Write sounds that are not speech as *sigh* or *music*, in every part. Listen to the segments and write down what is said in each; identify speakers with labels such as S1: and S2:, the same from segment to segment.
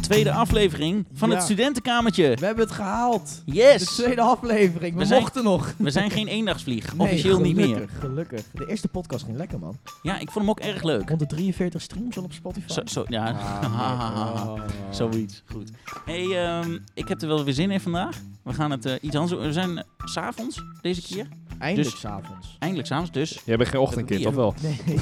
S1: tweede aflevering van het
S2: Ja.
S1: studentenkamertje.
S2: We hebben het gehaald. De
S1: Yes!
S2: tweede aflevering. We,
S1: We zijn-
S2: mochten nog.
S1: We zijn geen eendagsvlieg.
S2: Nee,
S1: Officieel niet meer.
S2: gelukkig, Gelukkig. De eerste podcast ging lekker, man.
S1: Ja, ik vond hem ook erg leuk.
S2: 143 streams al op Spotify.
S1: Zo, zo, ja.
S2: Ah,
S1: Zoiets. Goed. hey, ehm, ik heb er wel weer zin in vandaag. We gaan het eh, iets anders doen. We zijn eh, s s'avonds deze keer.
S2: Eindelijk
S1: Dus-
S2: s'avonds.
S1: Eindelijk s'avonds dus.
S3: Jij bent geen ochtendkind,
S1: Bier.
S3: of wel?
S2: Nee.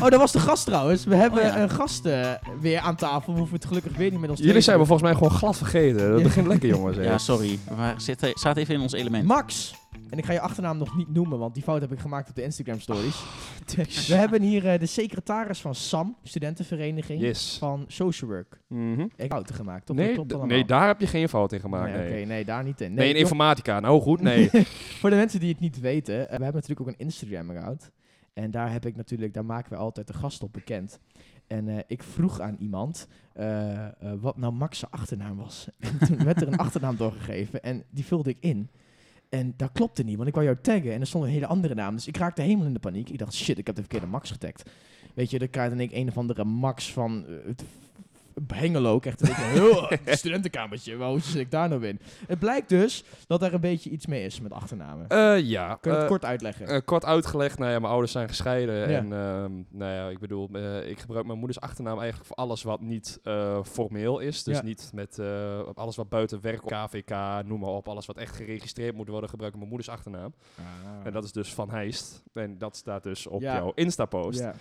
S2: *laughs* oh, dat was de gast trouwens. We hebben
S1: Oh, ja.
S2: een gast eh, weer aan tafel. We hoeven het gelukkig weer niet met ons
S3: Jullie zijn me
S2: tweeën te
S3: volgens mij gewoon glad vergeten. Dat
S2: Ja.
S3: begint lekker, jongens. hè.
S1: Ja, sorry. We zitten, zaten even in ons
S2: doen.
S1: element.
S2: Max. En ik ga je achternaam nog niet noemen, want die fout heb ik gemaakt op de Instagram stories. *laughs* We hebben hier eh, de secretaris van SAM, studentenvereniging
S3: Yes.
S2: van Social Work.
S3: Mhm.
S2: Ik heb fouten gemaakt, toch? Dat
S3: Nee,
S2: klopt
S3: d-
S2: allemaal.
S3: nee, daar heb je geen fout in gemaakt.
S2: Nee,
S3: Nee,
S2: oké, nee, daar niet in.
S3: Nee, in
S2: jong-
S3: informatica. Nou goed,
S2: *laughs*
S3: nee.
S2: Voor de mensen die het niet weten, eh, we hebben natuurlijk ook een Instagram-account. En daar heb ik natuurlijk, daar maken we altijd de gast op bekend. En eh, ik vroeg aan iemand eh, eh, wat nou Max' zijn achternaam was. *laughs* En toen werd er een achternaam doorgegeven en die vulde ik in. En dat klopte niet, want ik wou jou taggen en er stond een hele andere naam. Dus ik raakte helemaal in de paniek. Ik dacht, shit, ik heb de verkeerde Max getagd. Weet je, dan krijg ik een of andere Max van eh, het Hengelo. Ik Echt een heel studentenkamertje, maar hoe zit ik daar nou in? Het blijkt dus dat daar een beetje iets mee is met achternamen.
S3: Eh, ja.
S2: Kun je het
S3: eh,
S2: kort uitleggen?
S3: eh, kort uitgelegd, nou ja, mijn ouders zijn gescheiden.
S2: Ja.
S3: En ehm, nou ja, ik bedoel, eh, ik gebruik mijn moeders achternaam eigenlijk voor alles wat niet eh, formeel is. Dus
S2: Ja.
S3: niet met eh, alles wat buiten werk, KVK, noem maar op. Alles wat echt geregistreerd moet worden, gebruik ik mijn moeders achternaam. En dat is dus Van Heist. En dat staat dus op
S2: Ja.
S3: jouw Insta-post.
S2: Ja.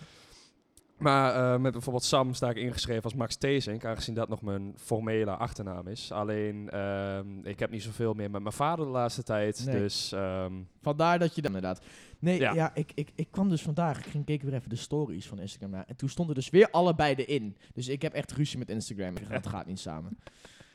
S3: Maar eh, met bijvoorbeeld Sam sta ik ingeschreven als Max Teesink, aangezien dat nog mijn formele achternaam is. Alleen, ehm, ik heb niet zoveel meer met mijn vader de laatste tijd.
S2: Nee.
S3: Dus ehm,
S2: Vandaar dat je dat inderdaad. Nee, ja,
S3: Ja.
S2: ik, ik, ik kwam dus vandaag. Ik ging keek weer even de stories van Instagram na. En toen stonden dus weer allebei erin. Dus ik heb echt ruzie met Instagram. Ik dacht, Dat gaat niet samen.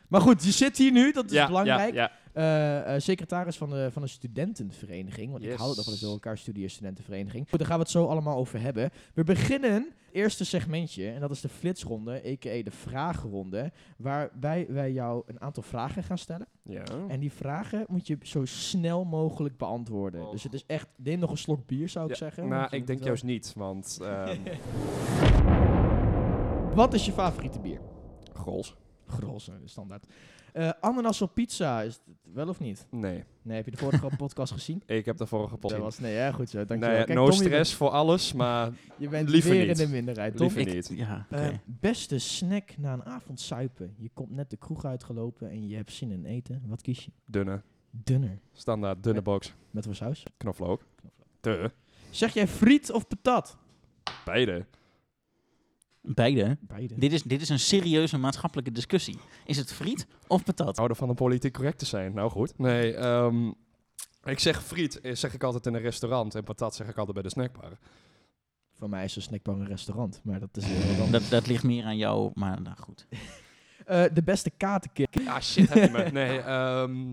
S2: Maar goed, je zit hier nu. Dat is
S3: ja,
S2: belangrijk.
S3: Ja, ja.
S2: Eh, eh, secretaris van de, van de studentenvereniging. Want ik
S3: Yes.
S2: hou dat wel eens door elkaar studie studentenvereniging. Goed, daar gaan we het zo allemaal over hebben. We beginnen het eerste segmentje. En dat is de flitsronde, a.k.a. de vragenronde. Waarbij wij jou een aantal vragen gaan stellen.
S3: Ja.
S2: En die vragen moet je zo snel mogelijk beantwoorden.
S3: Oh.
S2: Dus het is echt, neem nog een slok bier zou ik
S3: Ja,
S2: zeggen. want
S3: nou,
S2: je
S3: ik
S2: moet
S3: denk
S2: wel-
S3: juist niet,
S2: *laughs*
S3: want... ehm
S2: Wat is je favoriete bier?
S3: Grols?
S2: Grolse, standaard. Eh, ananas op pizza, is het wel of niet?
S3: Nee,
S2: Nee, heb je de
S3: *laughs*
S2: vorige podcast gezien?
S3: ik heb de vorige pot
S2: Dat was, nee, hè, goed zo, dankjewel.
S3: Nou ja,
S2: Kijk,
S3: no
S2: Tom, je
S3: stress voor alles, maar
S2: bent- Je bent
S3: Liever
S2: weer
S3: niet.
S2: in de minderheid, Tom.
S3: Liever
S1: Ik-
S3: niet.
S1: Ja, oké.
S2: Eh, beste snack na een avond suipen. Je komt net de kroeg uitgelopen en je hebt zin in eten. Wat kies je?
S3: dunne.
S2: Dunner.
S3: Standaard, dunne
S2: Met-
S3: box.
S2: Met wat saus?
S3: Knoflook. Te.
S2: Zeg jij friet of patat?
S3: Beide.
S1: Beide.
S2: Beide.
S1: Dit is, dit is een serieuze maatschappelijke discussie. Is het friet of patat?
S3: houden van de politiek correct te zijn. Nou goed. Nee, ehm, ik zeg friet, eh, zeg ik altijd in een restaurant. En patat zeg ik altijd bij de snackbar.
S2: Voor mij is een snackbar een restaurant, maar dat
S3: *laughs*
S2: is weer wat anders.
S1: Dat, dat ligt meer aan jou, maar nou goed.
S2: Eh, de beste katenkick.
S3: Ah, shit, heb je me. Nee, ehm...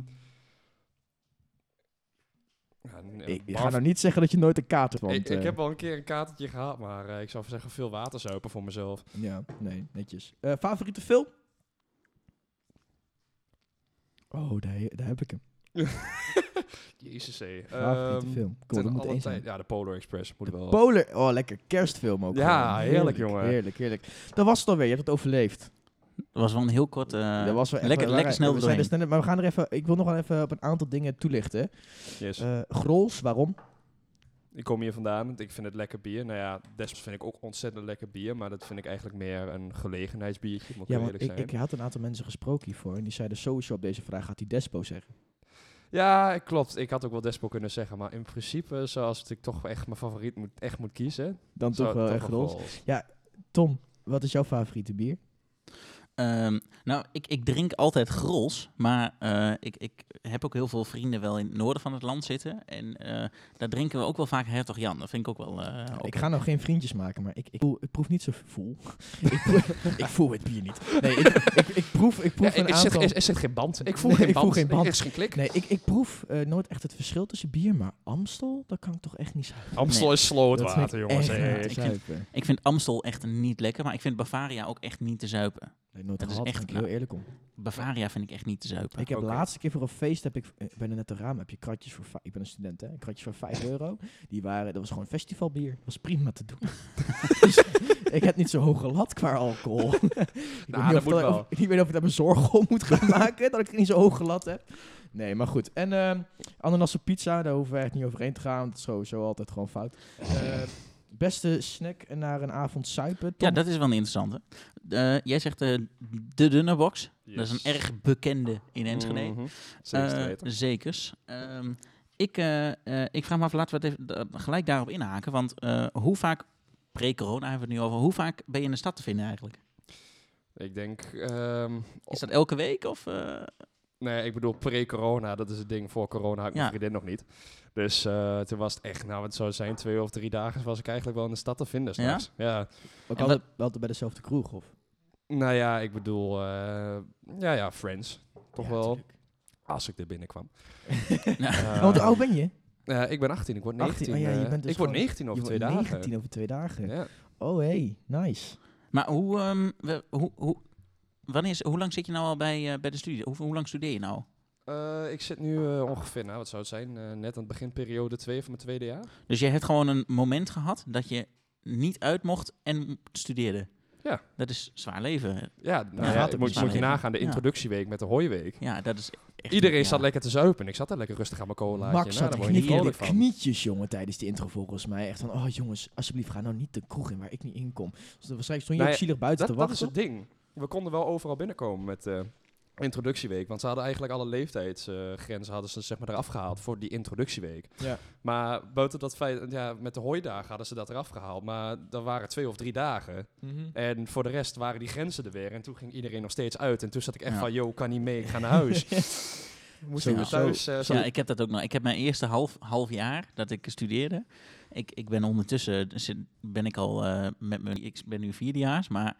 S3: ja, n-
S2: Ik
S3: barf-
S2: ga nou niet zeggen dat je nooit een kater want,
S3: ik, ik
S2: eh,
S3: heb wel een keer een katertje gehad, maar eh, ik zou zeggen veel water zuipen voor mezelf.
S2: Ja, nee, netjes. Eh, favoriete film? Oh, daar, he- daar heb ik hem.
S3: Jezus, hé.
S2: Favoriete
S3: Ehm,
S2: film. Kom,
S3: ten
S2: dat moet
S3: alle
S2: één
S3: tijde-
S2: zijn.
S3: Ja, de Polar Express moet
S2: De
S3: wel.
S2: Polar. Oh, lekker kerstfilm ook.
S3: Ja,
S2: gewoon.
S3: heerlijk, jongen.
S2: Heerlijk, heerlijk. Dat was het alweer. Je hebt het overleefd.
S1: Dat was wel een heel kort... eh,
S2: dat was wel
S1: lekker,
S2: echt wel
S1: lekker
S2: belangrijk.
S1: snel
S2: we
S1: er
S2: zijn dus er
S1: doorheen.
S2: snel in, Maar we gaan er even... Ik wil nog wel even op een aantal dingen toelichten.
S3: Yes.
S2: Eh Grols, waarom?
S3: Ik kom hier vandaan, want ik vind het lekker bier. Nou ja, Desmos vind ik ook ontzettend lekker bier, maar dat vind ik eigenlijk meer een gelegenheidsbiertje, moet ik
S2: Ja,
S3: wel
S2: want
S3: eerlijk
S2: ik,
S3: zijn.
S2: ik had een aantal mensen gesproken hiervoor. En die zeiden sowieso op deze vraag gaat hij Despo zeggen.
S3: Ja, klopt. Ik had ook wel Despo kunnen zeggen, maar in principe, zoals het ik toch echt mijn favoriet moet, echt moet kiezen,
S2: Dan
S3: zou
S2: toch
S3: het
S2: wel echt Grols. Tom, wat is jouw favoriete bier?
S1: Ehm, nou, ik, ik drink altijd grols, maar eh, ik, ik heb ook heel veel vrienden wel in het noorden van het land zitten. En eh, daar drinken we ook wel vaak hertog Jan. Dat vind ik ook wel... eh, oké.
S2: Ik ga nou geen vriendjes maken, maar ik, ik, voel- ik proef niet zo voel. *laughs* ik, proef- ik voel het bier niet. Nee, ik, ik, ik proef, ik proef
S3: Ja,
S2: een
S3: er, zit,
S2: aantal...
S3: er, er zit geen band. Ik voel
S2: Nee,
S3: geen
S2: ik voel
S3: band.
S2: geen band.
S3: Er is geen klik.
S2: Nee, ik, ik proef eh, nooit echt het verschil tussen bier, maar Amstel, dat kan ik toch echt niet zuipen.
S3: Amstel
S1: Nee.
S3: is slootwater, jongens.
S1: echt
S3: Hey.
S1: niet. Ik vind Amstel echt niet lekker, maar ik vind Bavaria ook echt niet te zuipen.
S2: Nee, nooit
S1: Dat is
S2: gehad,
S1: echt
S2: ben ik
S1: knap.
S2: heel eerlijk om.
S1: Bavaria vind ik echt niet te zuipen.
S2: Ik heb
S3: Oké.
S2: de laatste keer voor een feest, heb ik, eh, bij de Nette Raam heb je kratjes voor, vij- ik ben een student hè, kratjes voor 5 euro. Die waren, dat was gewoon festivalbier. Dat was prima te doen. *laughs* Dus ik heb niet zo hoge lat qua alcohol. *laughs* ik, weet
S3: Nou, dat
S2: niet of
S3: moet
S2: dat-
S3: wel.
S2: of- ik weet niet of ik daar mijn zorgen om moet
S3: *laughs*
S2: gaan maken, dat ik niet zo hoge lat heb. Nee, maar goed. En ehm ananassen pizza, daar hoeven we echt niet overheen te gaan, want dat is sowieso altijd gewoon fout. Eh, beste snack naar een avond suipen,
S1: Ja,
S2: Tom?
S1: dat is wel een interessante. Eh, jij zegt eh, de dunne box. Dat is een erg bekende in Enschede.
S3: Mhm. Zeker te
S1: Eh,
S3: weten.
S1: zekers. Ehm, ik, eh, eh, ik vraag me af, laten we het even, da- gelijk daarop inhaken. Want eh, hoe vaak, pre-corona hebben we het nu over, hoe vaak ben je in de stad te vinden eigenlijk?
S3: Ik denk, ehm,
S1: Is dat elke week? Of, eh,
S3: *laughs* nee, ik bedoel pre-corona, dat is het ding. Voor corona had ik mijn
S1: Ja.
S3: vriendin nog niet. Dus eh, toen was het echt, nou het zou zijn, twee of drie dagen was ik eigenlijk wel in de stad te vinden
S1: Ja?
S3: straks. Ja?
S2: Ook
S1: en
S2: altijd, altijd bij dezelfde kroeg, of?
S3: Nou ja, ik bedoel, eh, ja ja, Friends. Toch
S2: Ja,
S3: wel,
S2: tuurlijk.
S3: als ik er binnenkwam.
S1: nou, *laughs*
S3: Eh,
S2: Want hoe oud ben je?
S3: eh, ik ben 18, ik word 19.
S2: 18, oh ja, je
S3: eh,
S2: bent dus
S3: ik word
S2: gewoon-
S3: 19 over
S2: Je
S3: twee
S2: wordt
S3: dagen.
S2: 19 over twee dagen.
S3: Ja.
S2: Oh, hey, nice.
S1: maar hoe, ehm, we- hoe, hoe, wanneer, is- hoe lang zit je nou al bij, eh, bij de studie? Hoe, hoe lang studeer je nou?
S3: Eh, ik zit nu eh, ongeveer, nou wat zou het zijn, eh, net aan het begin periode 2 van mijn tweede jaar.
S1: Dus jij hebt gewoon een moment gehad dat je niet uit mocht en studeerde.
S3: Ja.
S1: Dat is zwaar leven.
S3: Ja, nou
S1: gaat
S3: ja,
S1: het
S3: moet,
S1: dus
S3: moet je
S1: maar.
S3: nagaan, de
S1: Ja.
S3: introductieweek met de hooiweek.
S1: Ja, dat is echt...
S3: Iedereen
S1: ja.
S3: zat lekker te zuipen. en Ik zat daar lekker rustig aan mijn cola.
S2: Max had
S3: daar word je niet
S2: knikken in de
S3: vrolijk van.
S2: knietjes, jongen, tijdens die intro volgens mij. Echt van, oh jongens, alsjeblieft, ga nou niet de kroeg in waar ik niet in kom. Dus dan waarschijnlijk stond je
S3: Nee,
S2: ook zielig buiten
S3: Dat,
S2: te
S3: dat is
S2: wachten.
S3: het ding. We konden wel overal binnenkomen met eh, introductieweek. Want ze hadden eigenlijk alle leeftijdsgrenzen hadden ze zeg maar eraf gehaald voor die introductieweek.
S2: Ja.
S3: Maar buiten dat feit, ja, met de hooidagen hadden ze dat eraf gehaald. Maar dat waren twee of drie dagen. En voor de rest waren die grenzen er weer. En toen ging iedereen nog steeds uit. En toen zat ik echt
S1: Ja.
S3: van, yo, kan niet mee, ik ga naar
S1: *laughs*
S3: huis. Moest
S2: Sowieso.
S3: ik weer
S1: nou
S3: thuis. eh, zo-
S1: Ja, ik heb dat ook nog. Ik heb mijn eerste half, half jaar dat ik studeerde. Ik, ik ben ondertussen, dus ben ik al eh, met mijn, ik ben nu vierdejaars, maar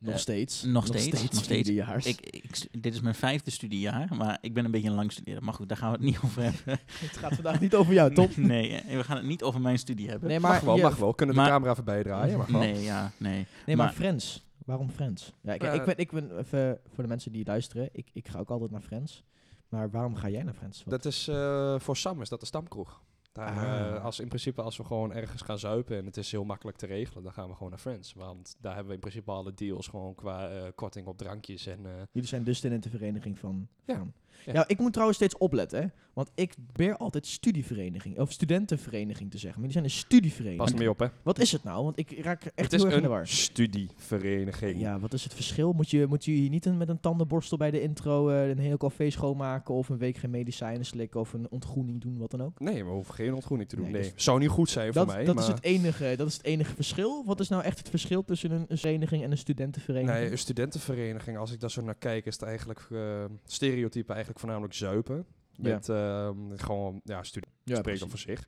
S2: Nog
S1: Eh,
S2: steeds.
S1: nog steeds, nog steeds.
S2: vierdejaars.
S1: ik, ik stu- dit is mijn vijfde studiejaar, maar ik ben een beetje een lang studeren. Maar goed, daar gaan we het niet over hebben.
S2: het gaat vandaag niet over jou, Tom.
S1: Nee, eh, we gaan het niet over mijn studie hebben.
S2: Nee,
S3: mag wel,
S2: je-
S3: mag wel. Kunnen de
S1: maar-
S3: camera even bijdraaien? Mag wel.
S1: Nee, ja, *laughs* nee.
S2: Nee, maar,
S1: Maar-
S2: Friends. Waarom Friends? Ja, ik, ik,
S3: Eh,
S2: ben, ik ben, even voor de mensen die luisteren, ik, ik ga ook altijd naar Friends. Maar waarom ga jij naar Friends? Wat-
S3: Dat is eh, voor Sam is dat de stamkroeg. Daar,
S2: Ah.
S3: eh, als, in principe als we gewoon ergens gaan zuipen en het is heel makkelijk te regelen, dan gaan we gewoon naar Friends. Want daar hebben we in principe alle deals gewoon qua eh, korting op drankjes. En, eh,
S2: Jullie zijn dus de vereniging van.
S3: Ja.
S2: van.
S3: Ja.
S2: Nou, ik moet trouwens steeds opletten, hè? Want ik probeer altijd studievereniging of studentenvereniging te zeggen. Maar jullie zijn een
S3: pas
S2: studievereniging.
S3: er mee op, hè.
S2: Wat is het nou? Want ik raak er echt
S3: het
S2: heel erg in
S3: is
S2: de
S3: een
S2: war.
S3: studievereniging.
S2: Ja, wat is het verschil? Moet je, moet je hier niet een, met een tandenborstel bij de intro eh, een hele café schoonmaken of een week geen medicijnen slikken of een ontgroening doen, wat dan ook?
S3: Nee, we hoeven geen ontgroening te doen.
S2: Nee,
S3: Nee,
S2: dus-
S3: zou niet goed zijn
S2: dat
S3: voor mij.
S2: dat,
S3: maar...
S2: is het enige, dat is het enige verschil. Wat is nou echt het verschil tussen een, een vereniging en een studentenvereniging?
S3: Nee, een studentenvereniging, als ik daar zo naar kijk, is het eigenlijk eh stereotype eigenlijk voornamelijk zuipen.
S2: Ja.
S3: Met ehm, gewoon, ja, studie
S2: ja,
S3: spreekt dan voor zich.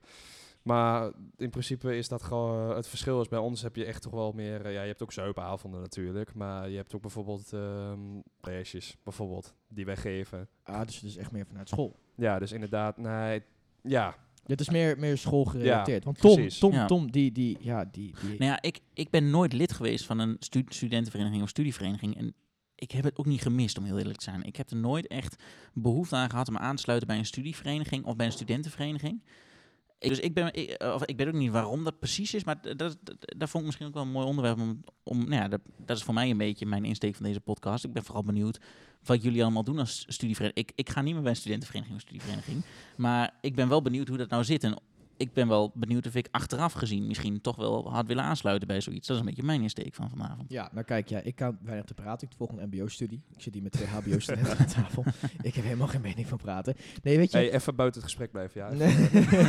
S3: Maar in principe is dat gewoon, het verschil is bij ons heb je echt toch wel meer, eh, ja, je hebt ook zuipavonden natuurlijk, maar je hebt ook bijvoorbeeld ehm reisjes, bijvoorbeeld, die wij geven.
S2: Ah, dus het is echt meer vanuit school.
S3: Ja, dus inderdaad, nee, ja,
S2: Dit is meer, meer schoolgerelateerd. Want Tom,
S3: precies.
S2: Tom,
S1: Ja.
S2: Tom, die, die, ja, die, die
S1: Nou ja, ik, ik ben nooit lid geweest van een stu- studentenvereniging of studievereniging. En ik heb het ook niet gemist, om heel eerlijk te zijn. Ik heb er nooit echt behoefte aan gehad om aan te sluiten bij een studievereniging of bij een studentenvereniging. Ik- Dus ik, ben, ik, eh, of ik weet ook niet waarom dat precies is, maar d- dat, dat, dat vond ik misschien ook wel een mooi onderwerp. Om, om, nou ja, dat, dat is voor mij een beetje mijn insteek van deze podcast. Ik ben vooral benieuwd wat jullie allemaal doen als studievereniging. Ik, ik ga niet meer bij een studentenvereniging of studievereniging, maar ik ben wel benieuwd hoe dat nou zit en ik ben wel benieuwd of ik achteraf gezien misschien toch wel had willen aansluiten bij zoiets. Dat is een beetje mijn insteek van vanavond.
S2: Ja, nou kijk, ja, ik kan weinig te praten. Ik volg een mbo-studie. Ik zit hier met twee
S3: *laughs*
S2: hbo-studenten aan tafel. Ik heb helemaal geen mening van praten. Nee, weet je...
S3: hey, even buiten het gesprek blijven, ja.
S2: Nee.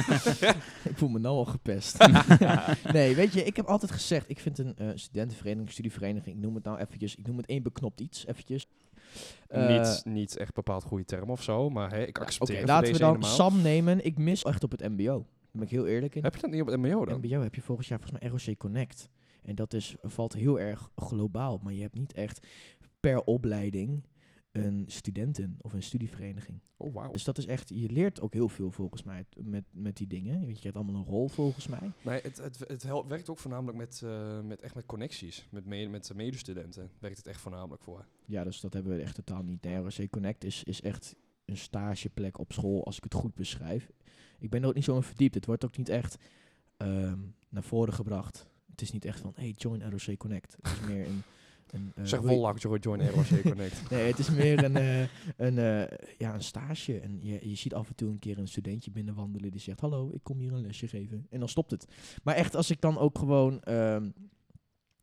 S2: *laughs* ik voel me nou al
S3: *laughs*
S2: gepest. nee, weet je, ik heb altijd gezegd... Ik vind een eh, studentenvereniging, studievereniging... Ik noem het nou eventjes... Ik noem het één beknopt iets, eventjes. Eh,
S3: niet, niet echt bepaald goede term of zo, maar hey, ik Nou,
S2: Oké,
S3: accepteer het voor
S2: laten we
S3: deze
S2: dan
S3: eenmaal.
S2: Sam nemen. Ik mis echt op het mbo. Daar ben ik heel eerlijk in.
S3: Heb je dat niet op het mbo dan?
S2: MBO heb je volgend jaar volgens mij ROC Connect. En dat is, valt heel erg globaal. Maar je hebt niet echt per opleiding een studenten- of een studievereniging.
S3: Oh, wauw.
S2: Dus dat is echt, je leert ook heel veel volgens mij t- met, met die dingen. Want je krijgt allemaal een rol volgens mij.
S3: Nee, het, het, het hel- werkt ook voornamelijk met, eh, met, echt met connecties. Met, me- met eh, medestudenten werkt het echt voornamelijk voor.
S2: Ja, dus dat hebben we echt totaal niet. Nee, ROC Connect is, is echt een stageplek op school, als ik het goed beschrijf. Ik ben er ook niet zo in verdiept. Het wordt ook niet echt ehm, naar voren gebracht. Het is niet echt van, hey, join ROC Connect. Het is meer een... een eh,
S3: zeg
S2: hoe je-
S3: vol lang, Join *laughs* ROC Connect.
S2: Nee, het is meer een, eh, een, eh, ja, een stage. En je, je ziet af en toe een keer een studentje binnenwandelen die zegt: Hallo, ik kom hier een lesje geven. En dan stopt het. Maar echt, als ik dan ook gewoon ehm,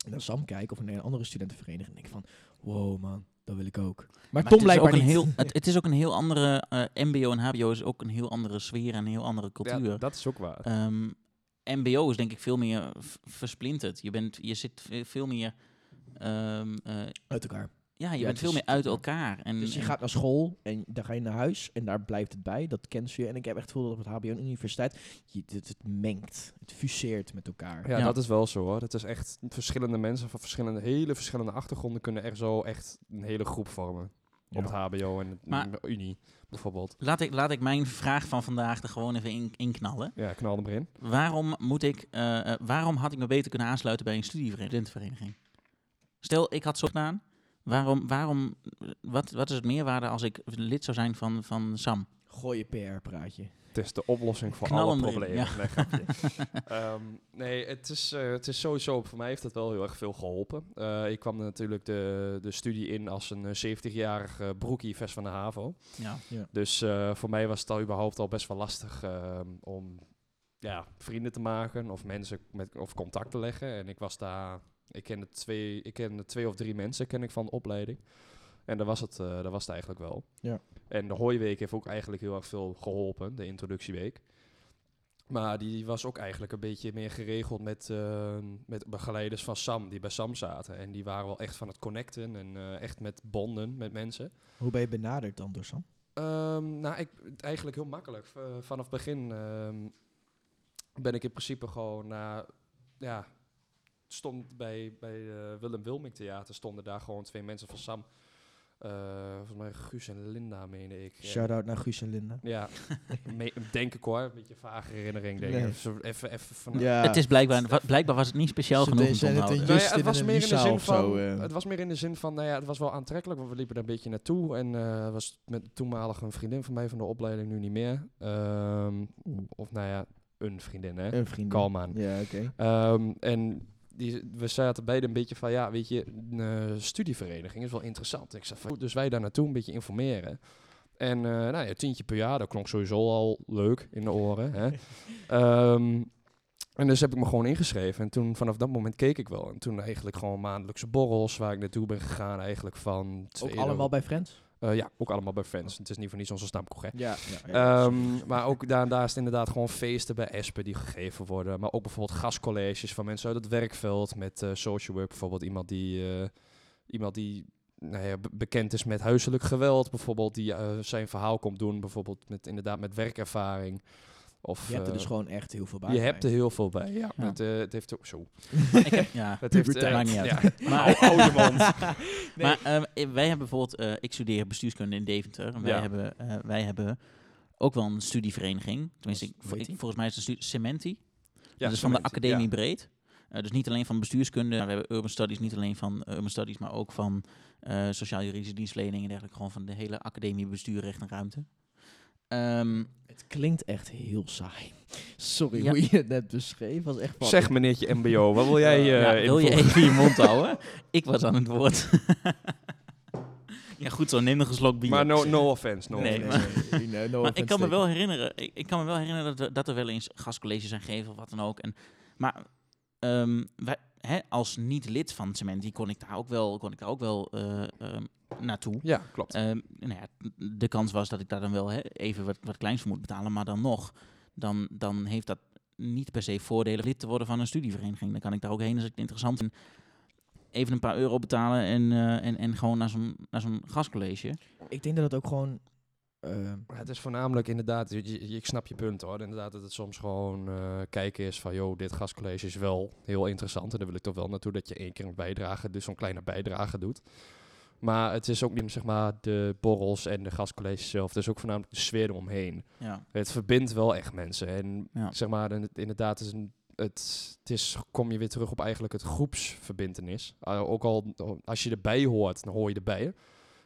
S2: naar Sam kijk of naar een andere studentenvereniging, denk ik van: Wow, man, dat wil ik ook. Maar,
S1: Maar het
S2: Tom
S1: is ook
S2: blijkbaar
S1: een
S2: niet.
S1: heel, het, het is ook een heel andere. eh, MBO en HBO is ook een heel andere sfeer en een heel andere cultuur.
S3: Ja, dat is ook waar.
S1: Ehm, MBO is denk ik veel meer v- versplinterd. Je, bent, je zit ve- veel meer. ehm, eh,
S2: uit elkaar.
S1: ja, je
S2: het
S1: bent veel
S2: is-
S1: meer uit elkaar. En,
S2: Dus je
S1: en-
S2: gaat naar school en daar ga je naar huis en daar blijft het bij. Dat kent je. En ik heb echt het gevoel dat op het HBO en universiteit je, het, het mengt, het fuseert met elkaar.
S3: Ja,
S1: Ja.
S3: dat is wel zo hoor. Het is echt verschillende mensen van verschillende, hele verschillende achtergronden kunnen er zo echt een hele groep vormen. Op het
S2: Ja.
S3: HBO en het
S1: Maar-
S3: Unie bijvoorbeeld.
S1: laat, ik, laat ik mijn vraag van vandaag er gewoon even in, in knallen.
S3: Ja, knal hem erin.
S1: Waarom, moet ik, eh, eh, waarom had ik me beter kunnen aansluiten bij een studievereniging? Stel, ik had zo gedaan. Waarom, waarom, wat, wat is het meerwaarde als ik lid zou zijn van, van SAM?
S2: Gooi je PR-praatje.
S3: Het is de oplossing voor
S1: Knal
S3: alle
S1: hem erin,
S3: problemen.
S1: ja.
S3: Nee,
S1: *laughs*
S3: grapje. Ehm, nee, het is, eh, het is sowieso, voor mij heeft het wel heel erg veel geholpen. Eh, ik kwam natuurlijk de, de studie in als een eh, 70-jarig eh, broekie vers van de HAVO.
S1: Ja.
S3: Dus eh, voor mij was het al überhaupt al best wel lastig ehm, om ja, vrienden te maken of mensen met, of contact te leggen. En ik was daar, ik kende twee, ik kende twee of drie mensen ken ik van de opleiding. En daar was het, eh, daar was het eigenlijk wel.
S2: Ja.
S3: En de hooiweek heeft ook eigenlijk heel erg veel geholpen, de introductieweek. Maar die was ook eigenlijk een beetje meer geregeld met, eh, met begeleiders van Sam, die bij Sam zaten. En die waren wel echt van het connecten en eh, echt met bonden met mensen.
S2: Hoe ben je benaderd dan door Sam?
S3: Ehm, nou, ik, het eigenlijk heel makkelijk. V- eh, vanaf het begin ehm, ben ik in principe gewoon na... Ja, stond bij, bij eh, Willem Wilming Theater stonden daar gewoon twee mensen van Sam. Eh, volgens mij Guus en Linda, meende ik. eh, En-
S2: Shout-out naar Guus en Linda.
S3: Ja,
S2: *laughs*
S3: me- denk ik hoor. Een beetje vage herinnering, denk ik.
S2: Nee.
S3: Zo Even, even van...
S1: Het is blijkbaar, wa- blijkbaar was het niet speciaal
S2: Ze
S1: genoeg om
S2: deden-
S1: te
S2: zijn het
S1: onthouden.
S2: een
S3: Nou ja,
S2: Justin
S3: het, was
S2: en
S3: meer in de
S2: Lisa
S3: zin
S2: of
S3: van,
S2: zo, eh.
S3: het was meer in de zin van, nou ja, het was wel aantrekkelijk, want we liepen er een beetje naartoe. En eh was met toenmalig een vriendin van mij van de opleiding, nu niet meer. Ehm, of nou ja, een vriendin, hè.
S2: Een vriend.
S3: Kalm aan.
S2: Ja, oké.
S3: Ehm, en die, we zaten beide een beetje van, ja, weet je, een eh, studievereniging is wel interessant. Ik zei van, goed, dus wij daar naartoe een beetje informeren. En eh nou ja, tientje per jaar, dat klonk sowieso al leuk in de
S2: *laughs*
S3: oren. Hè? Ehm, en dus heb ik me gewoon ingeschreven. En toen, vanaf dat moment keek ik wel. En toen eigenlijk gewoon maandelijkse borrels waar ik naartoe ben gegaan. Eigenlijk van...
S2: Ook
S3: tweede-
S2: allemaal bij Friends?
S3: Eh, ja, ook allemaal bij Friends. Het is niet voor niets onze stamkroeg, hè?
S2: Ja.
S3: Ehm, maar ook daarnaast inderdaad gewoon feesten bij Espen die gegeven worden. Maar ook bijvoorbeeld gastcolleges van mensen uit het werkveld. Met eh, social work bijvoorbeeld. Iemand die, eh, iemand die nou ja, be- bekend is met huiselijk geweld bijvoorbeeld. Die eh, zijn verhaal komt doen. Bijvoorbeeld met, inderdaad met werkervaring. Of,
S2: je hebt er
S3: eh,
S2: dus gewoon echt heel veel bij.
S3: je hebt er heel veel bij. Ja.
S1: Ja.
S3: Het, eh, het heeft ook
S2: *laughs*
S3: zo.
S1: Ik heb- ja.
S3: Het heeft,
S2: Puberteit.
S3: eh,
S1: Maakt niet uit.
S3: *laughs* ja,
S1: Maar-
S3: Ou- oude
S1: *laughs*
S3: mond.
S1: Maar ehm, eh, wij hebben bijvoorbeeld, eh, ik studeer bestuurskunde in Deventer. En wij,
S3: Ja.
S1: hebben, eh, wij hebben ook wel een studievereniging. Tenminste,
S2: Wat
S1: ik,
S2: is-
S1: vo-
S2: hoe heet
S1: ik-
S2: die?
S1: volgens mij is het een studie Cementi.
S3: Ja,
S1: dat is Dus van de
S3: cement,
S1: academie
S3: ja.
S1: breed. Eh, dus niet alleen van bestuurskunde, maar we hebben urban studies, niet alleen van eh, urban studies, maar ook van eh, sociaal-juridische dienstverlening en dergelijke. Gewoon van de hele academie bestuur, recht en ruimte. Ehm,
S2: Het klinkt echt heel saai. Sorry
S1: Ja.
S2: hoe je het net beschreef. Was echt van-
S3: Zeg meneertje MBO, wat wil jij eh
S1: ja,
S3: in
S1: wil je
S3: voor-
S1: even je mond houden? *laughs* Ik was aan het woord. *laughs* ja, goed zo, neem nog een slok bier. *laughs*
S3: Maar nou- no, no offense. No
S2: Nee,
S1: Nee,
S2: nee,
S3: offense.
S2: nee, nee, no
S1: maar ik kan
S2: offense
S1: me
S2: taken.
S1: wel herinneren, ik, ik kan me wel herinneren dat, we- dat er wel eens gastcolleges zijn gegeven of wat dan ook. En, maar ehm, wij, hè, als niet lid van Cement, die kon ik daar ook wel, kon ik daar ook wel eh, ehm, naartoe.
S3: Ja, klopt.
S1: Ehm, nou ja, de kans was dat ik daar dan wel hè, even wat, wat kleins voor moet betalen, maar dan nog, dan, dan heeft dat niet per se voordelen lid te worden van een studievereniging. Dan kan ik daar ook heen als ik het interessant vind. Even een paar euro betalen en, eh, en, en gewoon naar zo'n, naar zo'n gastcollege.
S2: Ik denk dat het ook gewoon... eh,
S3: Maar Ehm, Het is voornamelijk inderdaad, je- je- ik snap je punt hoor. Inderdaad, dat het soms gewoon eh, kijken is van, joh, dit gastcollege is wel heel interessant. En daar wil ik toch wel naartoe dat je één keer een bijdrage, dus zo'n kleine bijdrage doet. Maar het is ook niet zeg maar, de borrels en de gastcolleges zelf. Het is ook voornamelijk de sfeer eromheen.
S1: Ja.
S3: Het verbindt wel echt mensen. En
S1: Ja.
S3: zeg maar, in- inderdaad, het is een- het, het is, kom je weer terug op eigenlijk het groepsverbintenis. Uh, ook al als je erbij hoort, dan hoor je erbij.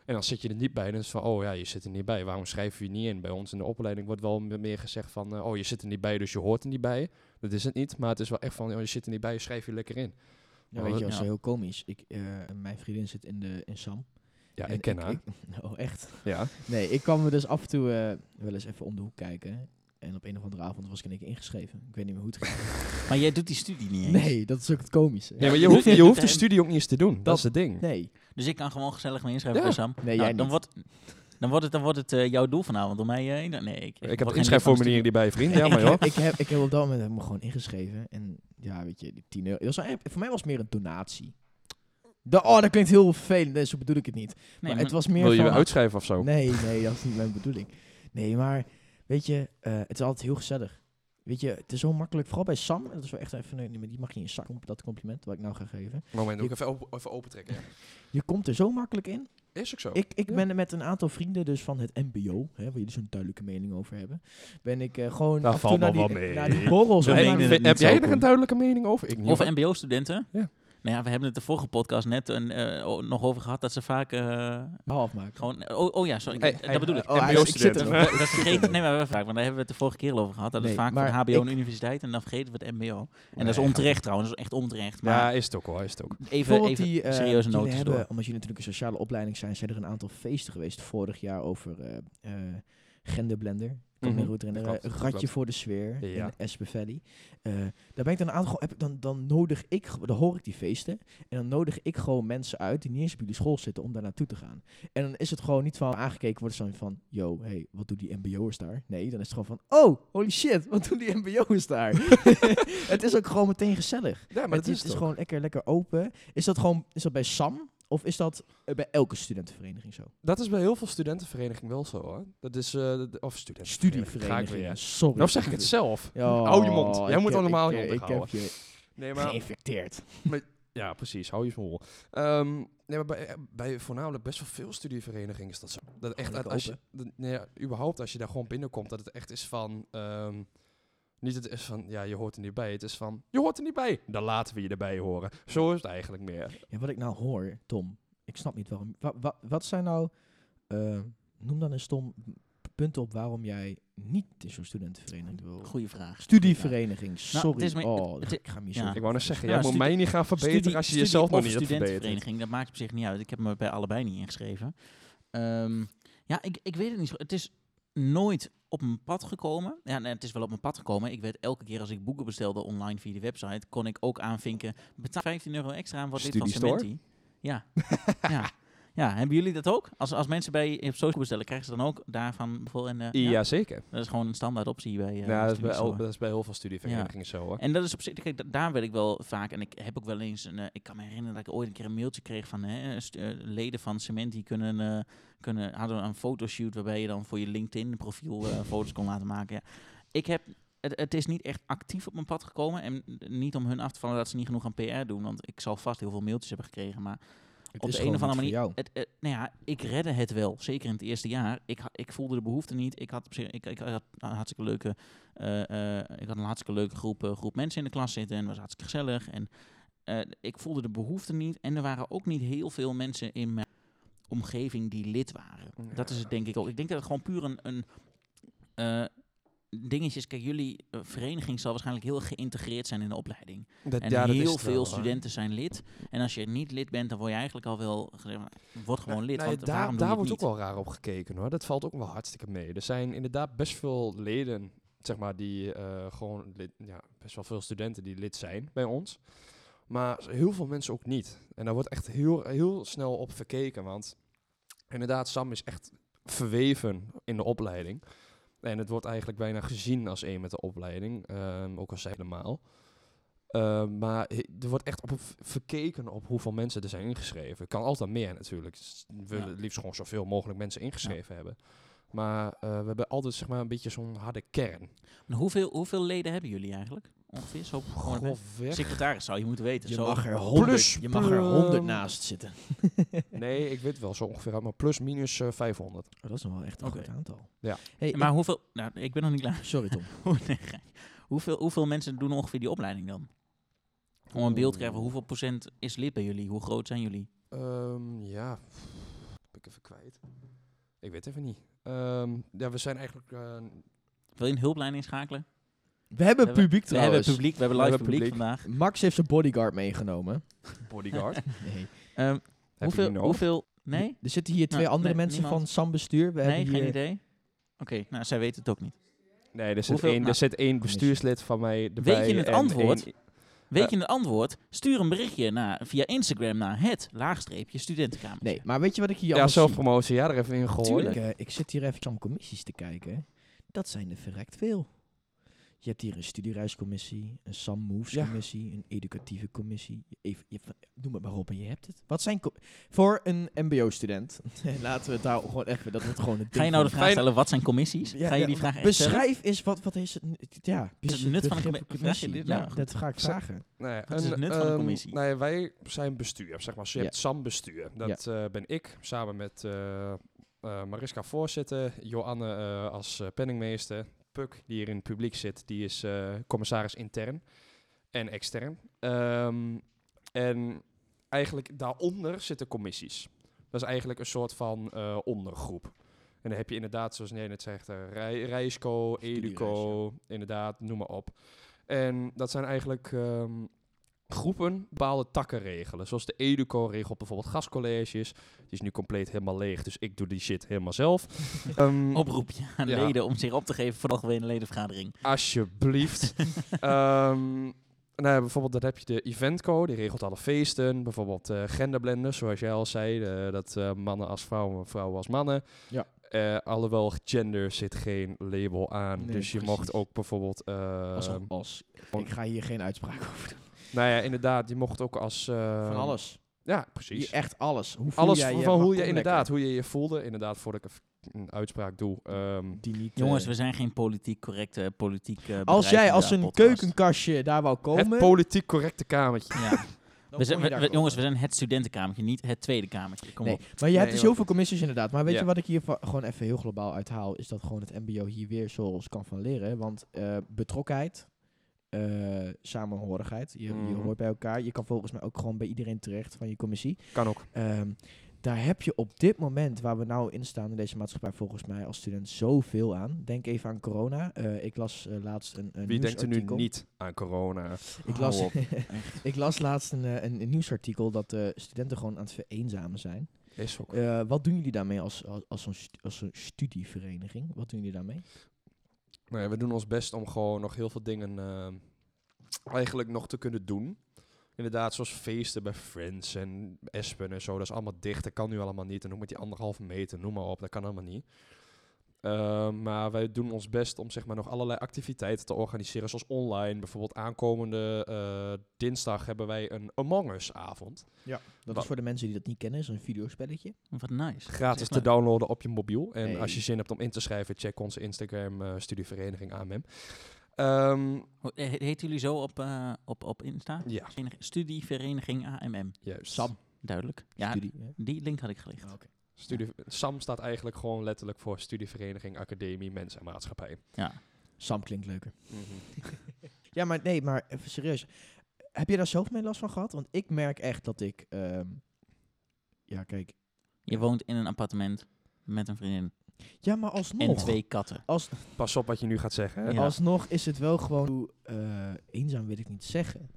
S3: En dan zit je er niet bij. Dan is het van, oh ja, je zit er niet bij. Waarom schrijf je je niet in? Bij ons in de opleiding wordt wel me- meer gezegd van, eh, oh, je zit er niet bij, dus je hoort er niet bij. Dat is het niet. Maar het is wel echt van, oh, je zit er niet bij, schrijf je lekker in.
S2: Ja,
S3: Oh,
S2: weet je,
S1: ja.
S2: dat is wel heel komisch. Ik, eh, mijn vriendin zit in, de, in Sam.
S3: Ja,
S2: En
S3: ik ken haar.
S2: ik- *laughs* oh, echt?
S3: ja.
S2: Nee, ik kwam me dus af en toe eh, wel eens even om de hoek kijken. En op een of andere avond was ik in één keer ingeschreven. Ik weet niet meer hoe het ging.
S1: Maar jij doet die studie niet eens.
S2: Nee, dat is ook het komische.
S3: Nee, maar je
S1: dus-
S3: hoeft, je hoeft de
S1: en-
S3: studie ook niet eens te doen. Dat,
S2: Dat-
S3: is het ding.
S2: Nee,
S1: Dus ik kan gewoon gezellig mee inschrijven
S3: Ja.
S1: bij Sam.
S2: nee
S1: Nou,
S2: jij
S1: dan,
S2: niet.
S1: Wordt, dan wordt het, dan wordt het eh, jouw doel vanavond om mij... eh, in- nee, ik,
S3: Ik heb
S1: word
S3: het
S1: geen lid van de studie.
S3: inschrijfformulier die bij je vriend. Ja,
S2: *laughs* ik,
S3: maar joh.
S2: heb, ik, heb, ik heb op dat moment heb ik me gewoon ingeschreven. En ja, weet je, die 10 euro. Dat was eigenlijk- voor mij was het meer een donatie. Da- oh, dat klinkt heel vervelend. Nee, zo bedoel ik het niet.
S1: Nee,
S2: maar,
S1: maar-
S2: het was meer
S3: Wil je
S2: van...
S3: je uitschrijven of zo?
S2: Nee, nee, dat is niet mijn bedoeling. Nee, maar weet je, eh, het is altijd heel gezellig. Weet je, het is zo makkelijk, vooral bij Sam. Dat is wel echt even, nee, maar die mag je in je zak, dat compliment wat ik nou ga geven.
S3: Moment,
S2: doe ik
S3: even, even opentrekken.
S2: Je komt er zo makkelijk in.
S3: Is ook zo.
S2: Ik, ik ben er met een aantal vrienden dus van het MBO, hè, waar jullie zo'n duidelijke mening over hebben, ben ik eh, gewoon af
S3: Nou,
S2: en toe
S3: valt
S2: naar
S3: wel
S2: die,
S3: mee.
S2: naar die borrels.
S1: Zo
S2: en
S1: meende
S2: naar die-
S1: het niet
S3: heb
S1: zo
S3: jij er
S1: kom.
S3: een duidelijke mening over? Ik niet.
S1: Of
S3: hoor.
S1: mbo-studenten.
S3: Ja.
S1: Nou ja, we hebben het de vorige podcast net een, eh, o- nog over gehad dat ze vaak eh,
S2: half maken.
S1: gewoon... Oh, oh ja, sorry,
S3: Hey,
S1: eh,
S3: hey,
S1: dat bedoel ik.
S2: Oh, hij- ik zit er
S3: MBO-studenten.
S2: nog.
S1: dat vergeten, nee, maar we vaak, want daar hebben we het de vorige keer al over gehad. Dat
S2: Nee,
S1: is vaak voor
S2: maar
S1: HBO
S2: ik-
S1: en universiteit en dan vergeten we het mbo. En dat is
S3: Nee,
S1: onterecht trouwens, dat is echt onterecht.
S3: Ja,
S1: Maar
S3: is het ook hoor, is het ook.
S1: even,
S2: Bijvoorbeeld
S1: even
S2: die, eh,
S1: serieuze
S2: jullie
S1: noten
S2: hebben,
S1: door.
S2: Omdat jullie natuurlijk een sociale opleiding zijn, zijn er een aantal feesten geweest vorig jaar over eh, eh, genderblender. Ik kan me
S3: Mhm,
S2: heel goed herinneren.
S3: dat klopt, dat
S2: Ratje
S3: klopt.
S2: voor de sfeer
S3: Ja.
S2: in Espen Valley. Eh, daar ben ik dan aan gewoon- heb- dan, dan nodig ik, ge- dan hoor ik die feesten. En dan nodig ik gewoon mensen uit die niet eens op jullie school zitten om daar naartoe te gaan. En dan is het gewoon niet van aangekeken worden zo van, yo, hey, wat doen die mbo'ers daar? Nee, dan is het gewoon van, oh, holy shit, wat doen die mbo'ers daar? *laughs* het is ook gewoon meteen gezellig.
S3: Ja,
S2: Maar het is, het is gewoon lekker, lekker open. Is dat gewoon is dat bij Sam of is dat eh, bij elke studentenvereniging zo?
S3: Dat is bij heel veel studentenverenigingen wel zo hoor. Dat is, eh, de- of studievereniging.
S2: Studievereniging. Sorry.
S3: Nou, Of zeg ik
S2: *laughs*
S3: het *laughs* zelf?
S2: Ja,
S3: Hou je mond. Jij
S2: ik
S3: moet
S2: heb-
S3: allemaal
S2: ik,
S3: je
S2: eh,
S3: mond
S2: Ik heb
S3: houden.
S2: je
S3: Nee,
S2: geïnfecteerd.
S3: Ja, precies. Hou je smoel. Ehm, nee, maar bij, bij voornamelijk best wel veel studieverenigingen is dat zo. Dat echt,
S2: lekker
S3: als je, dat- nee, ja, überhaupt als je daar gewoon binnenkomt, dat het echt is van... ehm, niet het is van, ja, je hoort er niet bij. Het is van, je hoort er niet bij. Dan laten we je erbij horen. Zo is het eigenlijk meer.
S2: Ja, wat ik nou hoor, Tom, ik snap niet waarom. wa- wa- wat zijn nou, eh, noem dan eens Tom, p- punten op waarom jij niet in zo'n studentenvereniging wil.
S1: Goeie vraag.
S3: Nou,
S2: Studievereniging, sorry.
S1: het is meer-
S2: oh,
S1: het- het-
S2: ik ga me hier
S1: ja.
S2: zo
S3: Ik wou net zeggen,
S1: Ja,
S3: jij moet
S1: studie-
S3: mij niet gaan verbeteren
S1: Studie-
S3: als je
S1: studie
S3: jezelf nog
S1: of
S3: niet hebt verbeterd.
S1: studentenvereniging, dat maakt op zich niet uit. Ik heb me bij allebei niet ingeschreven. Ehm, ja, ik, ik weet het niet zo. Het is nooit op mijn pad gekomen. Ja, nee, het is wel op mijn pad gekomen. Ik werd elke keer als ik boeken bestelde online via de website, kon ik ook aanvinken, betaal 15 euro extra aan wordt dit van
S3: Studiestore?
S1: Cementi. Ja. *laughs* ja. Ja, hebben jullie dat ook? Als, als mensen bij op social bestellen, krijgen ze dan ook daarvan bijvoorbeeld een... eh, ja?
S3: Ja, zeker.
S1: Dat is gewoon een standaard optie bij... eh,
S3: Ja, dat is, bij
S1: Studiestore.
S3: el- dat is bij heel veel studieverenigingen zo hoor.
S1: En dat is op zich, kijk, da- daar werd ik wel vaak, en ik heb ook wel eens, een, eh, ik kan me herinneren dat ik ooit een keer een mailtje kreeg van hè, st- eh, leden van Cement, die kunnen, eh, kunnen, hadden een fotoshoot waarbij je dan voor je LinkedIn profiel eh, foto's kon laten maken. Ja. Ik heb, het, het is niet echt actief op mijn pad gekomen en niet om hun af te vallen dat ze niet genoeg aan PR doen, want ik zal vast heel veel mailtjes hebben gekregen, maar op de een of andere manier. Het, het- nou ja, ik redde het wel. Zeker in het eerste jaar. Ik, ha- ik voelde de behoefte niet. Ik had, op zich- ik, ik had een hartstikke leuke, eh, eh, ik had een hartstikke leuke groep, eh, groep mensen in de klas zitten. En het was hartstikke gezellig. En eh, ik voelde de behoefte niet. En er waren ook niet heel veel mensen in mijn omgeving die lid waren. Dat is het denk ik ook. Ik denk dat het gewoon puur een... een eh, dingetje is. Kijk, jullie eh, vereniging zal waarschijnlijk heel geïntegreerd zijn in de opleiding.
S3: Dat-
S1: En
S3: ja, dat is
S1: heel
S3: het
S1: veel
S3: wel, hoor.
S1: studenten zijn lid. En als je niet lid bent, dan word je eigenlijk al wel gezegd, van, word gewoon
S3: Nou,
S1: lid.
S3: nou ja,
S1: want
S3: daar
S1: waarom
S3: daar
S1: doe
S3: wordt
S1: je het
S3: ook wel raar op gekeken hoor. Dat valt ook wel hartstikke mee. Er zijn inderdaad best veel leden, zeg maar, die eh, gewoon lid, ja, best wel veel studenten die lid zijn bij ons. Maar s- heel veel mensen ook niet. En daar wordt echt heel, heel snel op verkeken. Want inderdaad, Sam is echt verweven in de opleiding. En het wordt eigenlijk bijna gezien als één met de opleiding. ehm, ook al zij helemaal. Eh, maar he- er wordt echt op v- verkeken op hoeveel mensen er zijn ingeschreven. Kan altijd meer natuurlijk. S- We
S1: Ja.
S3: willen het liefst gewoon zoveel mogelijk mensen ingeschreven hebben. Maar eh, we hebben altijd zeg maar, een beetje zo'n harde kern.
S1: En hoeveel, hoeveel leden hebben jullie eigenlijk? Ongeveer zo. gewoon-
S3: Grofweg.
S1: Secretaris zou je moeten weten.
S2: Je
S1: zo.
S2: mag er
S3: plus,
S2: honderd, je mag er
S3: ehm,
S2: honderd naast zitten.
S3: *laughs* Nee, ik weet wel zo ongeveer uit, maar plus minus eh, 500.
S2: Oh, dat is nog wel echt een
S1: Oké.
S2: groot aantal.
S3: Ja.
S2: Hey,
S1: Maar hoeveel... Nou, ik ben nog niet klaar. *laughs*
S2: ik- sorry Tom.
S1: Oh, nee, gein. hoeveel, hoeveel mensen doen ongeveer die opleiding dan? Om een beeld te krijgen,
S3: Oeh.
S1: hoeveel procent is lid bij jullie? Hoe groot zijn jullie?
S3: Ehm, ja, ben ik even kwijt. Ik weet even niet. Ehm, ja, we zijn eigenlijk... eh,
S1: Wil je een hulplijn inschakelen?
S2: We hebben
S1: *laughs* We
S2: publiek
S1: We
S2: trouwens.
S1: hebben publiek, we hebben
S3: We
S1: live
S3: hebben
S1: publiek,
S3: publiek.
S1: vandaag.
S2: Max heeft zijn bodyguard meegenomen.
S1: *laughs*
S3: bodyguard. Heb
S2: Nee.
S1: Ehm,
S3: je
S1: hoeveel,
S3: die nog?
S1: hoeveel... Nee?
S2: Er zitten hier twee
S1: Nou,
S2: andere
S1: nee,
S2: mensen
S1: niemand.
S2: van SAM bestuur. We
S1: Nee,
S2: hebben hier,
S1: geen idee? Oké, nou, zij weten het ook niet.
S3: Nee, er zit,
S1: Hoeveel-
S3: één, er
S1: nou.
S3: zit één bestuurslid van mij erbij.
S1: Weet je het
S3: en
S1: antwoord?
S3: één-
S1: Weet
S3: Eh.
S1: je het antwoord? Stuur een berichtje naar, via Instagram naar het laagstreepje studentenkamer.
S2: Nee, maar weet je wat ik hier
S3: ja,
S2: allemaal zie?
S3: zelfpromotie. Ja, er even in
S2: Tuurlijk,
S3: gehoord.
S2: eh, ik zit hier even aan commissies te kijken. Dat zijn er verrekt veel. Je hebt hier een studiereiscommissie, een Sam Moves
S3: Ja.
S2: commissie, een educatieve commissie. Even, je, noem het maar op en je hebt het. Wat zijn co- voor een mbo-student? *laughs* Laten we het daar gewoon even. Dat wordt gewoon het.
S1: Ga je nou de vraag stellen, wat zijn commissies? Ga je die vraag echt stellen?
S2: Beschrijf eens wat, wat is het? Ja,
S1: het nut van een
S2: begrip
S1: commi- vraag je dit?
S2: Ja,
S1: Ja, Nou, goed.
S2: dat ga ik
S1: *laughs*
S3: Zo-
S2: vragen.
S3: Nee,
S1: Wat is het nut van een
S3: ehm,
S1: commissie?
S3: Nee, wij zijn bestuur, zeg maar. Dus je
S2: Ja.
S3: hebt SAM-bestuur. Dat eh, ben ik, samen met eh, eh, Mariska voorzitter, Joanne eh, als eh, penningmeester, Puk, die hier in het publiek zit, die is eh, commissaris intern en extern. Ehm, en eigenlijk daaronder zitten commissies. Dat is eigenlijk een soort van eh, ondergroep. En dan heb je inderdaad, zoals jij net zegt, eh, Rij- Rijsco, Educo, inderdaad, noem maar op. En dat zijn eigenlijk ehm, groepen bepaalde takken regelen. Zoals de Educo regelt bijvoorbeeld gastcolleges. Die is nu compleet helemaal leeg, dus ik doe die shit helemaal
S2: *laughs*
S3: zelf. Ehm,
S1: oproepje aan
S3: Ja.
S1: leden om zich op te geven voor de algemene
S2: *laughs*
S1: ledenvergadering.
S3: Alsjeblieft. Ehm, nou ja, bijvoorbeeld, dan heb je de Eventco, die regelt alle feesten. Bijvoorbeeld eh genderblenders, zoals jij al zei. eh, dat eh, mannen als vrouwen, vrouwen als mannen.
S2: Ja.
S3: Eh, alhoewel, gender zit geen label aan.
S2: Nee,
S3: dus je
S2: precies.
S3: mocht ook bijvoorbeeld... eh,
S2: Als, als, ik ga hier geen uitspraak over doen.
S3: Nou ja, inderdaad, je mocht ook als... eh,
S2: Van alles.
S3: Ja,
S2: Hier
S3: precies.
S2: echt alles. Hoe voel
S3: Alles
S2: jij
S3: van,
S2: je?
S3: van
S2: Maar
S3: hoe je
S2: kom lekker.
S3: inderdaad, hoe je je voelde. Inderdaad, voordat ik een f- een uitspraak doe. ehm,
S2: Die niet,
S1: Jongens,
S2: eh,
S1: we zijn geen politiek correcte politiek eh,
S2: Als jij als een
S1: bedrijfsmodel podcast.
S2: keukenkastje daar wou komen...
S3: het politiek correcte kamertje.
S1: Ja.
S2: dan
S1: We zijn,
S2: kom je
S1: we- we-
S2: daar komen.
S1: jongens, we zijn het studentenkamertje, niet het tweede kamertje. Kom
S2: Nee,
S1: op.
S2: maar je hebt
S3: Nee,
S2: dus
S3: joh.
S2: heel veel commissies inderdaad. Maar weet
S3: Ja.
S2: je wat ik hier va- gewoon even heel globaal uithaal? Is dat gewoon het mbo hier weer zoals kan van leren. Want eh, betrokkenheid, eh, samenhorigheid, je, je
S3: Mhm.
S2: hoort bij elkaar. Je kan volgens mij ook gewoon bij iedereen terecht van je commissie.
S3: Kan ook.
S2: Ehm, daar heb je op dit moment, waar we nou in staan in deze maatschappij, volgens mij als student zoveel aan. Denk even aan corona. Eh, ik las eh, laatst een, een
S3: Wie denkt er nu
S2: nieuwsartikel.
S3: niet aan corona?
S2: Ik
S1: Hou
S2: las, *laughs*
S1: op.
S2: ik las laatst een, eh, een, een nieuwsartikel dat eh, studenten gewoon aan het vereenzamen zijn.
S3: Is ook.
S2: Eh, wat doen jullie daarmee als, als, als, zo'n, stu- als zo'n studievereniging? Wat doen jullie daarmee?
S3: Nou ja, we doen ons best om gewoon nog heel veel dingen ehm, eigenlijk nog te kunnen doen. Inderdaad, zoals feesten bij Friends en Espen en zo. Dat is allemaal dicht. Dat kan nu allemaal niet. En ook met die anderhalve meter, noem maar op. Dat kan allemaal niet. Ehm, maar wij doen ons best om zeg maar, nog allerlei activiteiten te organiseren. Zoals online. Bijvoorbeeld aankomende eh, dinsdag hebben wij een Among Us avond.
S2: Dat
S3: Wat-
S2: is voor de mensen die dat niet kennen, is een videospelletje.
S1: Wat nice.
S3: Gratis
S1: Zeg
S3: te
S1: maar.
S3: downloaden op je mobiel. En
S2: Hey.
S3: als je zin hebt om in te schrijven, check onze Instagram eh, studievereniging AMM. Ehm
S1: Hoe- he- Heten jullie zo op, eh, op, op Insta?
S3: ja,
S1: Verenig- Studievereniging AMM.
S3: juist.
S2: Sam,
S1: Duidelijk. Ja,
S2: studie. hè?
S1: die link had ik gelicht.
S2: Ah, oké.
S3: Studie, SAM staat eigenlijk gewoon letterlijk voor Studievereniging Academie Mens en Maatschappij.
S1: Ja.
S2: Sam klinkt leuker. Ja, maar nee, maar even serieus. Heb je daar zelf mee last van gehad? Want ik merk echt dat ik... ehm, ja, kijk.
S1: Je woont in een appartement met een vriendin
S2: Ja, maar
S1: en
S2: alsnog.
S3: Oh.
S1: twee katten.
S2: Als,
S3: Pas op wat je nu gaat zeggen. hè.
S1: Ja.
S2: Alsnog is het wel gewoon... hoe, eh, eenzaam wil ik niet zeggen.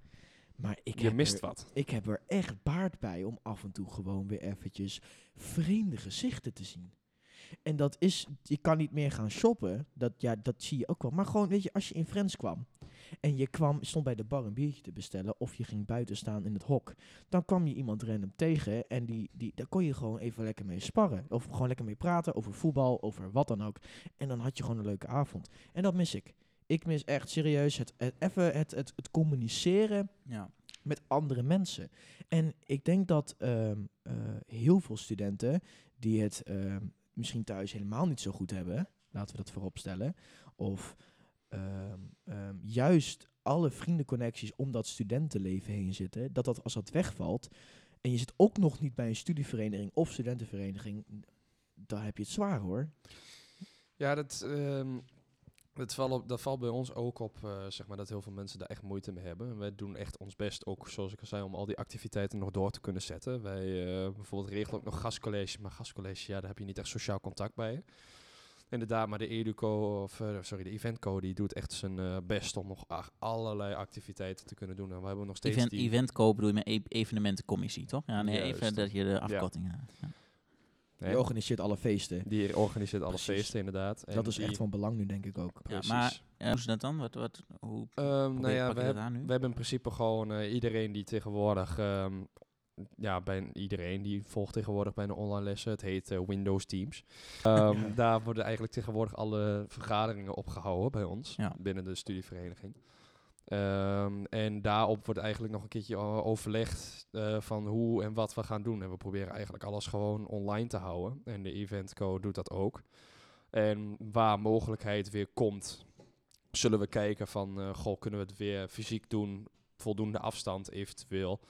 S2: Maar ik
S3: Je
S2: heb
S3: mist
S2: er-
S3: wat.
S2: Ik heb er echt baat bij om af en toe gewoon weer eventjes vreemde gezichten te zien. En dat is, je kan niet meer gaan shoppen. Dat, ja, dat zie je ook wel. Maar gewoon, weet je, als je in Friends kwam en je kwam, stond bij de bar een biertje te bestellen of je ging buiten staan in het hok, dan kwam je iemand random tegen en die, die, daar kon je gewoon even lekker mee sparren. Of gewoon lekker mee praten over voetbal, over wat dan ook. En dan had je gewoon een leuke avond. En dat mis ik. Ik mis echt serieus het, het, even het, het, het communiceren
S1: Ja.
S2: met andere mensen. En ik denk dat ehm, eh, heel veel studenten die het ehm, misschien thuis helemaal niet zo goed hebben, laten we dat voorop stellen. Of ehm, ehm, juist alle vriendenconnecties om dat studentenleven heen zitten, dat dat als dat wegvalt en je zit ook nog niet bij een studievereniging of studentenvereniging, dan heb je het zwaar hoor.
S3: Ja, dat, ehm, dat, valt op- dat valt bij ons ook op, eh, zeg maar, dat heel veel mensen daar echt moeite mee hebben. En Wij doen echt ons best, ook zoals ik al zei, om al die activiteiten nog door te kunnen zetten. Wij eh, bijvoorbeeld regelen ook nog gastcollege, maar gastcollege, ja, daar heb je niet echt sociaal contact bij. Inderdaad, maar de Educo, of eh, sorry, de Eventco, die doet echt zijn eh, best om nog a- allerlei activiteiten te kunnen doen. En we hebben nog steeds
S1: Event,
S3: die...
S1: event kopen doe je met e- evenementencommissie, toch? Ja, nee, even
S3: Juist.
S1: dat je de afkorting... Ja. Ja.
S3: Nee,
S2: Je organiseert alle feesten.
S3: die organiseert alle
S2: Precies.
S3: feesten, inderdaad. En
S2: dat is
S3: die-
S2: echt van belang nu, denk ik ook.
S1: Ja,
S3: Precies.
S1: maar- Eh, hoe is dat dan? Wat, wat, hoe
S3: Ehm, nou
S1: probeer,
S3: ja,
S1: pak
S3: we
S1: je dat
S3: hebben...
S1: aan nu?
S3: We hebben in principe gewoon eh, iedereen die tegenwoordig, ehm, ja, bij iedereen die volgt tegenwoordig bij een online lessen. Het heet eh, Windows
S1: *laughs*
S3: Teams. Ehm,
S2: Ja.
S3: Daar worden eigenlijk tegenwoordig alle vergaderingen opgehouden bij ons
S1: Ja.
S3: binnen de studievereniging. Ehm, en daarop wordt eigenlijk nog een keertje eh, overlegd eh, van hoe en wat we gaan doen. En we proberen eigenlijk alles gewoon online te houden. En de Eventco doet dat ook. En waar mogelijkheid weer komt, zullen we kijken van, eh, goh, kunnen we het weer fysiek doen, voldoende afstand eventueel.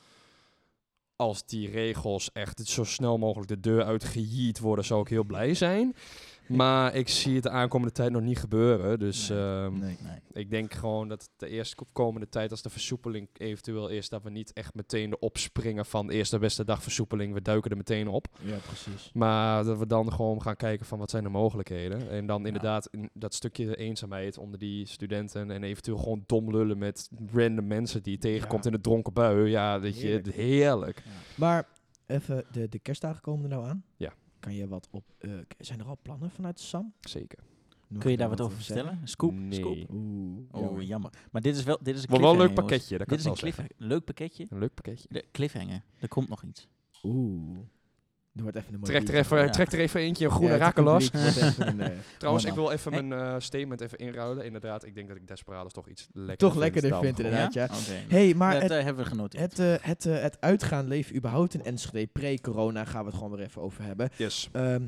S3: Als die regels echt zo snel mogelijk de deur uit gejiet worden, zou ik heel blij zijn. Maar ik zie het de aankomende tijd nog niet gebeuren. Dus
S1: Nee.
S3: ehm,
S2: Nee.
S1: Nee.
S3: ik denk gewoon dat de eerste komende tijd, als de versoepeling eventueel is, dat we niet echt meteen de opspringen van eerst de beste dag versoepeling, we duiken er meteen op.
S2: Ja, precies.
S3: Maar dat we dan gewoon gaan kijken van wat zijn de mogelijkheden. En dan inderdaad in dat stukje eenzaamheid onder die studenten. En eventueel gewoon dom lullen met random mensen die je tegenkomt
S2: Ja.
S3: in de dronken bui. Ja, dat je,
S2: Heerlijk.
S3: heerlijk.
S2: Maar even, de, de kerstdagen komen er nou aan.
S3: Ja.
S2: Kan je wat op... eh, k- zijn er al plannen vanuit Sam?
S3: Zeker.
S2: Nog
S1: Kun je daar
S2: wat
S1: wat over
S2: zeggen?
S1: vertellen? Scoop?
S3: nee.
S1: Scoop?
S2: Oeh.
S1: Oh, jammer. Maar dit is wel, dit is een
S3: Maar wel een leuk
S1: cliffhanger, jongens.
S3: pakketje, dat kan
S1: Dit is
S3: ik
S1: een
S3: wel
S1: cliffhanger. leuk pakketje.
S3: Een leuk pakketje.
S1: De cliffhanger. Er komt nog iets.
S2: Oeh. Er wordt even een mooie
S3: Trek er
S2: liedje.
S3: even,
S1: Ja.
S3: trek er even eentje, een
S2: Ja,
S3: goede
S2: het
S3: raken los.
S2: publiek wordt even een, eh,
S3: *laughs* Trouwens,
S1: Oh,
S3: ik
S1: man.
S3: wil even
S1: Hey.
S3: mijn eh, statement even inruilen. Inderdaad, ik denk dat ik Desperados toch iets lekkerder
S2: Toch
S3: vind
S2: lekkerder
S3: dan
S2: vindt,
S3: gewoon-
S2: inderdaad, ja.
S1: Oké.
S2: hey, maar
S1: dat
S2: het,
S1: eh, hebben we genoten.
S2: het, eh, het, eh, het uitgaan leven überhaupt in Enschede pre-corona gaan we het gewoon weer even over hebben.
S3: Yes.
S2: Ehm,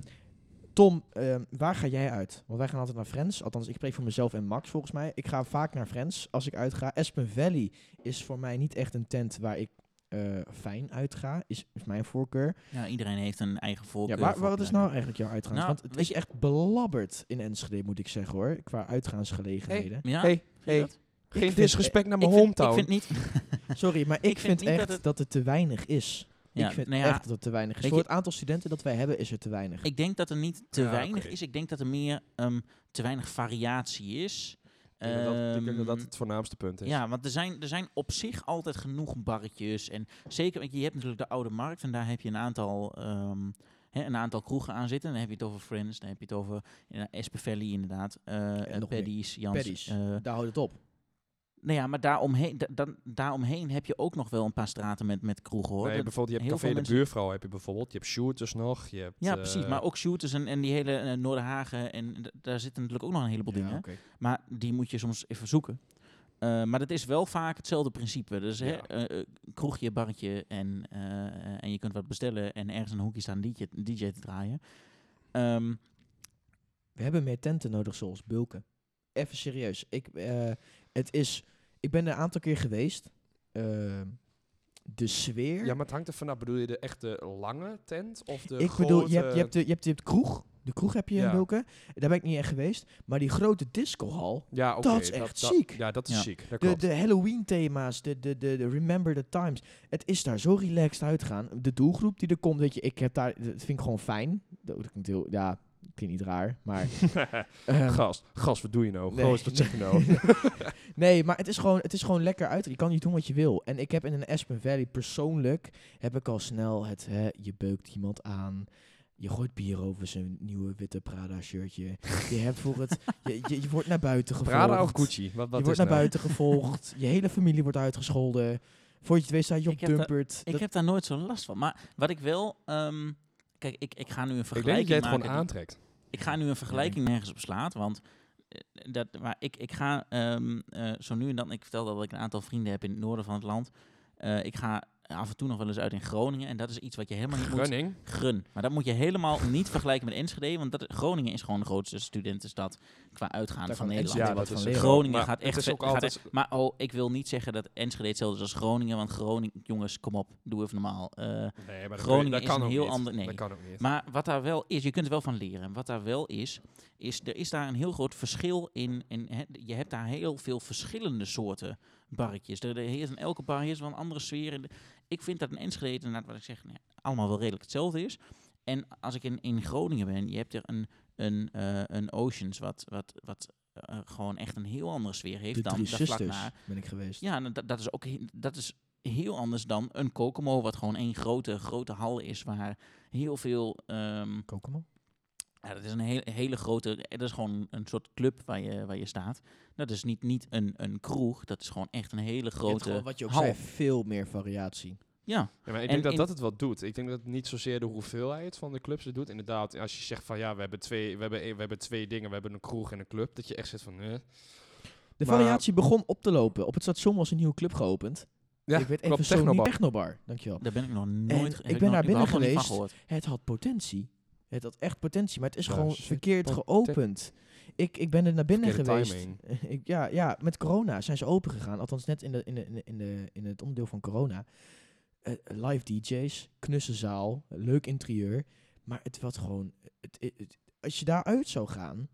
S2: Tom, ehm, waar ga jij uit? Want wij gaan altijd naar Friends. Althans, ik spreek voor mezelf en Max volgens mij. Ik ga vaak naar Friends als ik uitga. Aspen Valley is voor mij niet echt een tent waar ik eh, fijn uitga. Is, is mijn voorkeur.
S1: Ja, iedereen heeft een eigen
S2: Ja,
S1: voorkeur.
S2: maar wat is
S1: voorkeur.
S2: nou eigenlijk jouw uitgaans?
S1: Nou,
S2: Want het
S1: weet
S2: is
S1: je-
S2: echt belabberd in Enschede, moet ik zeggen hoor. Qua uitgaansgelegenheden.
S1: Ja?
S3: Hey,
S1: Vind je
S3: hey.
S1: dat?
S3: Geen
S2: vind-
S3: disrespect naar mijn
S1: ik, vind,
S3: hometown.
S1: ik vind
S3: *laughs*
S1: niet... *laughs*
S2: Sorry, maar ik,
S1: Ik
S2: vind,
S1: vind niet
S2: echt dat
S1: dat
S2: het...
S1: het-
S2: te weinig is.
S1: Ja,
S2: ik vind
S1: nou ja,
S2: echt dat het te weinig is.
S1: weet
S2: Voor
S1: je-
S2: het aantal studenten dat wij hebben is er te weinig.
S1: Ik denk dat er niet te
S3: Ja, oké.
S1: weinig is. Ik denk dat er meer ehm, te weinig variatie is.
S3: Ik denk dat dat- ik denk dat dat
S1: Ehm,
S3: het voornaamste punt is.
S1: Ja, want er zijn, er zijn op zich altijd genoeg barretjes. En zeker, want je hebt natuurlijk de oude markt en daar heb je een aantal, ehm, hè, een aantal kroegen aan zitten. Dan heb je het over Friends, dan heb je het over ja, Espe Valley inderdaad. eh
S2: nog meer.
S1: Paddy's, Jans.
S2: Paddy's.
S1: eh,
S2: Daar houdt het op.
S1: nou ja, maar daaromheen, da, dan, daaromheen heb je ook nog wel een paar straten met, met kroegen hoor.
S3: Nee,
S1: Dat-
S3: bijvoorbeeld, je hebt
S1: heel
S3: Café de
S1: veel mensen-
S3: Buurvrouw heb je bijvoorbeeld. Je hebt shooters nog. Je hebt,
S1: ja, precies.
S3: eh,
S1: Maar ook shooters en, en die hele eh, Noorderhagen. En d- daar zitten natuurlijk ook nog een heleboel dingen. Maar die moet je soms even zoeken. Eh, maar dat is wel vaak hetzelfde principe. Dus hè,
S3: Ja.
S1: eh, eh, kroegje, barretje en, eh, eh, en je kunt wat bestellen. En ergens in een hoekje staan een DJ, DJ te draaien. Ehm,
S2: We hebben meer tenten nodig zoals Bulken. Even serieus. Ik, eh, het is, ik ben er een aantal keer geweest. Ehm, de sfeer.
S3: Ja, maar het hangt er vanaf. Bedoel je de echte lange tent of de
S2: ik
S3: grote...
S2: bedoel, je hebt, je, hebt de, je, hebt, je hebt kroeg. De kroeg heb je in
S3: Ja.
S2: Bulken. Daar ben ik niet echt geweest. Maar die grote discohal.
S3: Ja, oké.
S2: Dat is echt ziek.
S3: Ja, dat is
S1: Ja.
S3: ziek. Dat
S2: De,
S3: klopt.
S2: de Halloween thema's. De, de, de, de Remember the Times. Het is daar zo relaxed uitgaan. De doelgroep die er komt. Weet je, ik heb daar, dat vind ik gewoon fijn. Dat klinkt heel, ja, klinkt niet raar. Maar, *laughs* ehm,
S3: *laughs* gast, gast, wat doe je nou?
S2: Nee.
S3: Gast, wat zeg je
S1: *laughs*
S2: *laughs*
S3: nou?
S2: Nee, maar het is gewoon, het is gewoon lekker uit. Je kan niet doen wat je wil. En ik heb in een Aspen Valley persoonlijk heb ik al snel het, hè, je beukt iemand aan. Je gooit bier over zijn nieuwe witte Prada shirtje. Je *laughs* hebt voor het. Je, je, je wordt naar buiten gevolgd.
S3: Prada of Gucci? Wat, wat
S2: je
S3: is
S2: wordt naar
S3: nou?
S2: buiten gevolgd. Je hele familie wordt uitgescholden. Voor je het weet staat je op
S1: Ik heb dat-
S2: Dumpert.
S1: ik
S2: Dat-
S1: heb daar nooit zo'n last van. Maar wat ik wel... ehm, kijk, ik, ik ga nu een
S3: Ik denk dat
S1: vergelijking
S3: jij het
S1: maken.
S3: gewoon aantrekt.
S1: Ik ga nu een vergelijking nergens op slaat, want eh, dat, maar ik, ik ga ehm, eh, zo nu en dan, ik vertelde dat ik een aantal vrienden heb in het noorden van het land. Eh, ik ga af en toe nog wel eens uit in Groningen. En dat is iets wat je helemaal
S3: *laughs*
S1: niet moet...
S3: Running.
S1: Grun. Maar dat moet je helemaal niet vergelijken met Enschede. Want dat, Groningen is gewoon de grootste studentenstad qua uitgaan
S2: Daar
S1: van
S2: kan
S1: Nederland.
S2: Enschede wat
S3: Ja, dat
S2: van
S3: is
S2: leren.
S1: Groningen
S3: Maar
S1: gaat
S3: het
S1: echt...
S3: is ook
S1: gaat
S3: altijd-
S1: echt- maar oh, ik wil niet zeggen dat Enschede hetzelfde is als Groningen. Want Groningen... Jongens, kom op. Doe even normaal. Eh,
S3: Nee, maar *laughs* dat
S1: Groningen
S3: dat
S1: is
S3: kan
S1: een
S3: ook
S1: heel
S3: niet.
S1: ander- nee.
S3: Dat kan ook niet.
S1: maar wat daar wel is... Je kunt er wel van leren. Wat daar wel is... is er is daar een heel groot verschil in... in hè, je hebt daar heel veel verschillende soorten barretjes. Er, er is in elke bar is wel een andere sfeer. En de- Ik vind dat in Enschede, inderdaad, wat ik zeg... nou ja, allemaal wel redelijk hetzelfde is. En als ik in, in Groningen ben, je hebt er een, een, eh, een Oceans wat, wat, wat eh, gewoon echt een heel andere sfeer heeft
S2: De
S1: dan
S2: drie
S1: daar vlak
S2: zusters
S1: na.
S2: ben ik geweest.
S1: Ja, nou, dat, dat is ook he- dat is heel anders dan een Kokomo, wat gewoon één grote, grote hal is waar heel veel. ehm,
S2: Kokomo?
S1: ja, dat is een hele, hele grote. eh, Dat is gewoon een soort club waar je, waar je staat. Dat is niet, niet een, een kroeg, dat is gewoon echt een hele grote.
S2: wat je ook
S1: hal.
S2: zei, veel meer variatie.
S1: Ja,
S3: Ja, maar
S1: En
S3: ik denk dat
S1: in-
S3: dat het wat doet. Ik denk dat het niet zozeer de hoeveelheid van de clubs het doet. Inderdaad, als je zegt van ja, we hebben twee, we hebben, we hebben twee dingen. We hebben een kroeg en een club. Dat je echt zit van... eh.
S2: De
S3: Maar-
S2: variatie begon op te lopen. Op het station was een nieuwe club geopend.
S3: Ja,
S2: ik weet
S3: klopt,
S2: even zo niet
S3: Technobar.
S2: Technobar. Dankjewel.
S1: daar ben ik nog nooit.
S2: ik
S1: heb
S2: ben
S1: nog
S2: daar binnen
S1: überhaupt nog niet van
S2: geweest.
S1: gehoord.
S2: Het had potentie. Het had echt potentie, maar het is
S3: Ja,
S2: gewoon
S3: shit,
S2: verkeerd
S3: poten-
S2: geopend. Ik, ik ben er naar binnen
S3: Verkeerde
S2: geweest. *laughs* Ik, ja, ja, met corona zijn ze open gegaan. Althans, net in, de, in, de, in, de, in, de, in het onderdeel van corona. Eh, live DJ's, knusse zaal, leuk interieur. Maar het was gewoon... Het, het- het- als je daaruit zou gaan,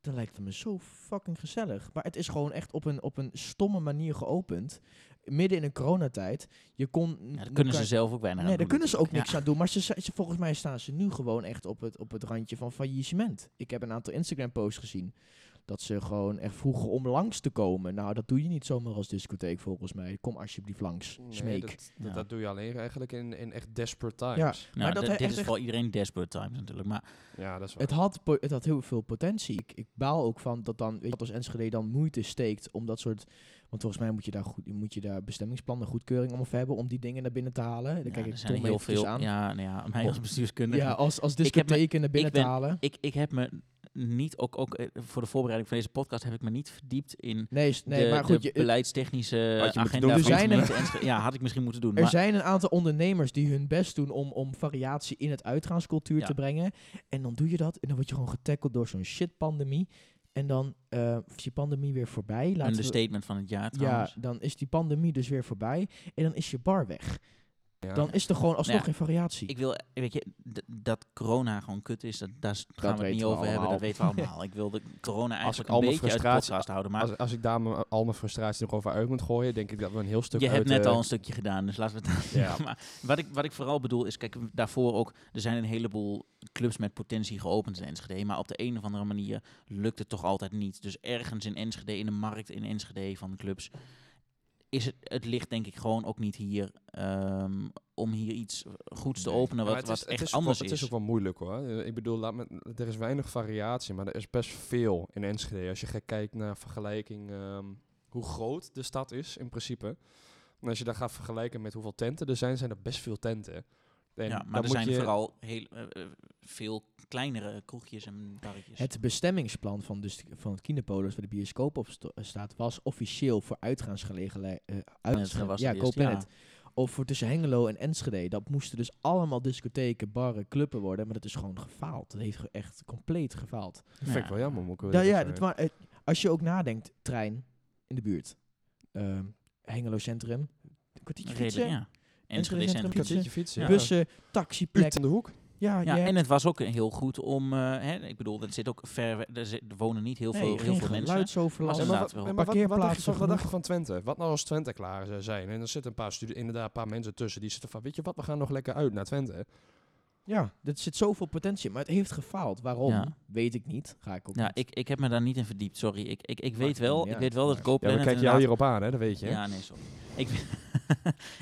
S2: dan lijkt het me zo fucking gezellig. Maar het is gewoon echt op een, op een stomme manier geopend. Midden in een coronatijd. Je kon...
S1: Ja, daar kunnen ze
S2: elkaar-
S1: zelf ook bijna aan
S2: Nee,
S1: doen
S2: daar kunnen ze ook
S1: natuurlijk.
S2: niks aan doen. Maar ze, zijn- ze, volgens mij staan ze nu gewoon echt op het, op het randje van faillissement. Ik heb een aantal Instagram-posts gezien. Dat ze gewoon echt vroegen om langs te komen. Nou, dat doe je niet zomaar als discotheek volgens mij. Kom alsjeblieft langs.
S3: Nee,
S2: Smeek.
S3: dat, dat,
S1: Ja.
S3: dat doe je alleen eigenlijk in, in echt desperate
S2: Ja.
S3: times.
S1: Nou,
S2: Maar dat
S1: dit-
S2: hij
S1: dit
S2: echt-
S1: is voor iedereen desperate times natuurlijk. Maar
S3: Ja, dat is waar.
S2: het, had po- het had heel veel potentie. Ik, ik baal ook van dat dan, weet je, dat als Enschede dan moeite steekt om dat soort... Want volgens mij moet je daar, goed, moet je daar bestemmingsplannen, goedkeuring om of hebben om die dingen naar binnen te halen. En dan
S1: ja,
S2: kijk
S1: er
S2: ik
S1: zijn
S2: Tom
S1: heel
S2: heel
S1: veel.
S2: aan. Ja,
S1: Ja, nou ja, *laughs* mij als bestuurskundige.
S2: als, als
S1: Ik heb me-
S2: discotheken naar binnen
S1: ik ben-
S2: te halen.
S1: Ik, ik heb me niet, ook, ook eh, voor de voorbereiding van deze podcast, heb ik me niet verdiept in
S2: Nee, nee
S1: de,
S2: maar goed,
S1: de
S2: je,
S1: beleidstechnische
S3: moeten
S1: agenda
S3: doen. dus-
S1: van
S2: Er
S1: de
S2: zijn er-
S1: gemeente Enschede. Ja, had ik misschien moeten doen.
S2: Er
S1: Maar
S2: zijn een aantal ondernemers die hun best doen om, om variatie in het uitgaanscultuur
S1: Ja.
S2: te brengen. En dan doe je dat en dan word je gewoon getackeld door zo'n shitpandemie. En dan eh, is die pandemie weer voorbij.
S1: een
S2: Laten we,
S1: statement van het jaar
S2: ja,
S1: trouwens.
S2: dan is die pandemie dus weer voorbij. En dan is je bar weg.
S3: Ja.
S2: Dan is er gewoon alsnog
S1: Nou ja,
S2: geen variatie.
S1: Ik wil, eh, weet je, d- dat corona gewoon kut is, dat, daar s- gaan we het
S2: weten
S1: niet
S2: we
S1: over hebben, dat
S2: allemaal.
S1: weten we allemaal. ik wil de corona eigenlijk
S3: al
S1: een
S3: mijn
S1: beetje uit de
S3: frustratie-
S1: podcast houden, maar
S3: als, als ik daar mijn- al mijn frustratie nog over uit moet gooien, denk ik dat we een heel stuk
S1: Je hebt
S3: uit,
S1: net
S3: eh,
S1: al een stukje gedaan, dus laten we het
S3: Ja.
S1: *laughs* maar wat ik, wat ik vooral bedoel is, kijk, daarvoor ook, er zijn een heleboel clubs met potentie geopend in Enschede, maar op de een of andere manier lukt het toch altijd niet. Dus ergens in Enschede, in de markt in Enschede van clubs, is het, het ligt denk ik gewoon ook niet hier ehm, om hier iets goeds te
S3: Nee.
S1: openen
S3: Ja,
S1: wat,
S3: maar het
S1: wat
S3: is- het
S1: echt
S3: is ook
S1: anders
S3: wel,
S1: is.
S3: Het is ook wel moeilijk hoor. Eh, Ik bedoel, laat me, er is weinig variatie, maar er is best veel in Enschede. Als je gaat kijkt naar vergelijking ehm, hoe groot de stad is in principe. En als je daar gaat vergelijken met hoeveel tenten er zijn, zijn er best veel tenten. En
S1: ja,
S3: dan
S1: maar er
S3: moet
S1: zijn
S3: je-
S1: vooral heel, eh, eh, veel kleinere kroegjes en barretjes.
S2: Het bestemmingsplan van, dus van het Kinepolis, waar de bioscoop op sto- eh, staat, was officieel voor uitgaansgelegenheid. eh uitgaan-
S1: was
S2: ja,
S1: het eerst,
S2: GoPlanet.
S1: ja.
S2: Of voor tussen Hengelo en Enschede. Dat moesten dus allemaal discotheken, barren, clubben worden. Maar dat is gewoon gefaald. Dat heeft ge- echt compleet gefaald.
S3: Dat vind ik
S1: Ja.
S3: wel jammer, moet ik wel
S2: Nou ja,
S3: eerlijk
S2: dat
S3: zeggen.
S2: wa- eh, als je ook nadenkt, trein in de buurt. Ehm, Hengelo Centrum. Een kwartiertje
S1: Redelijk,
S2: fietsen.
S1: ja. Enschede
S2: Centrum
S1: Centrum
S2: fietsen.
S1: fietsen.
S3: Je fietsen,
S1: Ja.
S3: Bus,
S2: Bussen,
S3: plek
S2: taxiplekken.
S3: aan de hoek.
S2: Ja,
S1: Ja,
S2: Oh, je hebt-
S1: en het was ook heel goed om, eh, hè, ik bedoel, dat zit ook ver, weg- er, zi- er wonen niet heel
S2: nee,
S1: veel, heel
S2: geen
S1: veel mensen.
S2: geluidsoverlast.
S1: Ja,
S3: maar wat-
S1: Inderdaad wel.
S3: maar wat- wat dacht je van-
S2: Parkeerplaatsen
S3: Wat dacht je
S2: genoeg.
S3: van Twente? Wat nou als Twente klaar zou zijn? En er zitten een paar, studen, inderdaad, een paar mensen tussen die zitten van... Weet je wat, we gaan nog lekker uit naar Twente.
S2: Ja, er zit zoveel potentie in, maar het heeft gefaald. Waarom?
S1: Ja.
S2: Weet ik niet. Ga ik ook
S1: Ja,
S2: niet.
S1: ik, ik heb me daar niet in verdiept, sorry. Ik, ik, ik
S2: Maakt
S1: weet wel,
S2: niet
S1: ik
S2: uit,
S1: weet wel dat
S2: maar-
S3: Ja,
S1: GoPlanet
S3: we kijken jou
S1: inderdaad-
S3: hierop aan, hè? Dat weet je, hè?
S1: Ja, nee, sorry. *laughs* Ik, weet-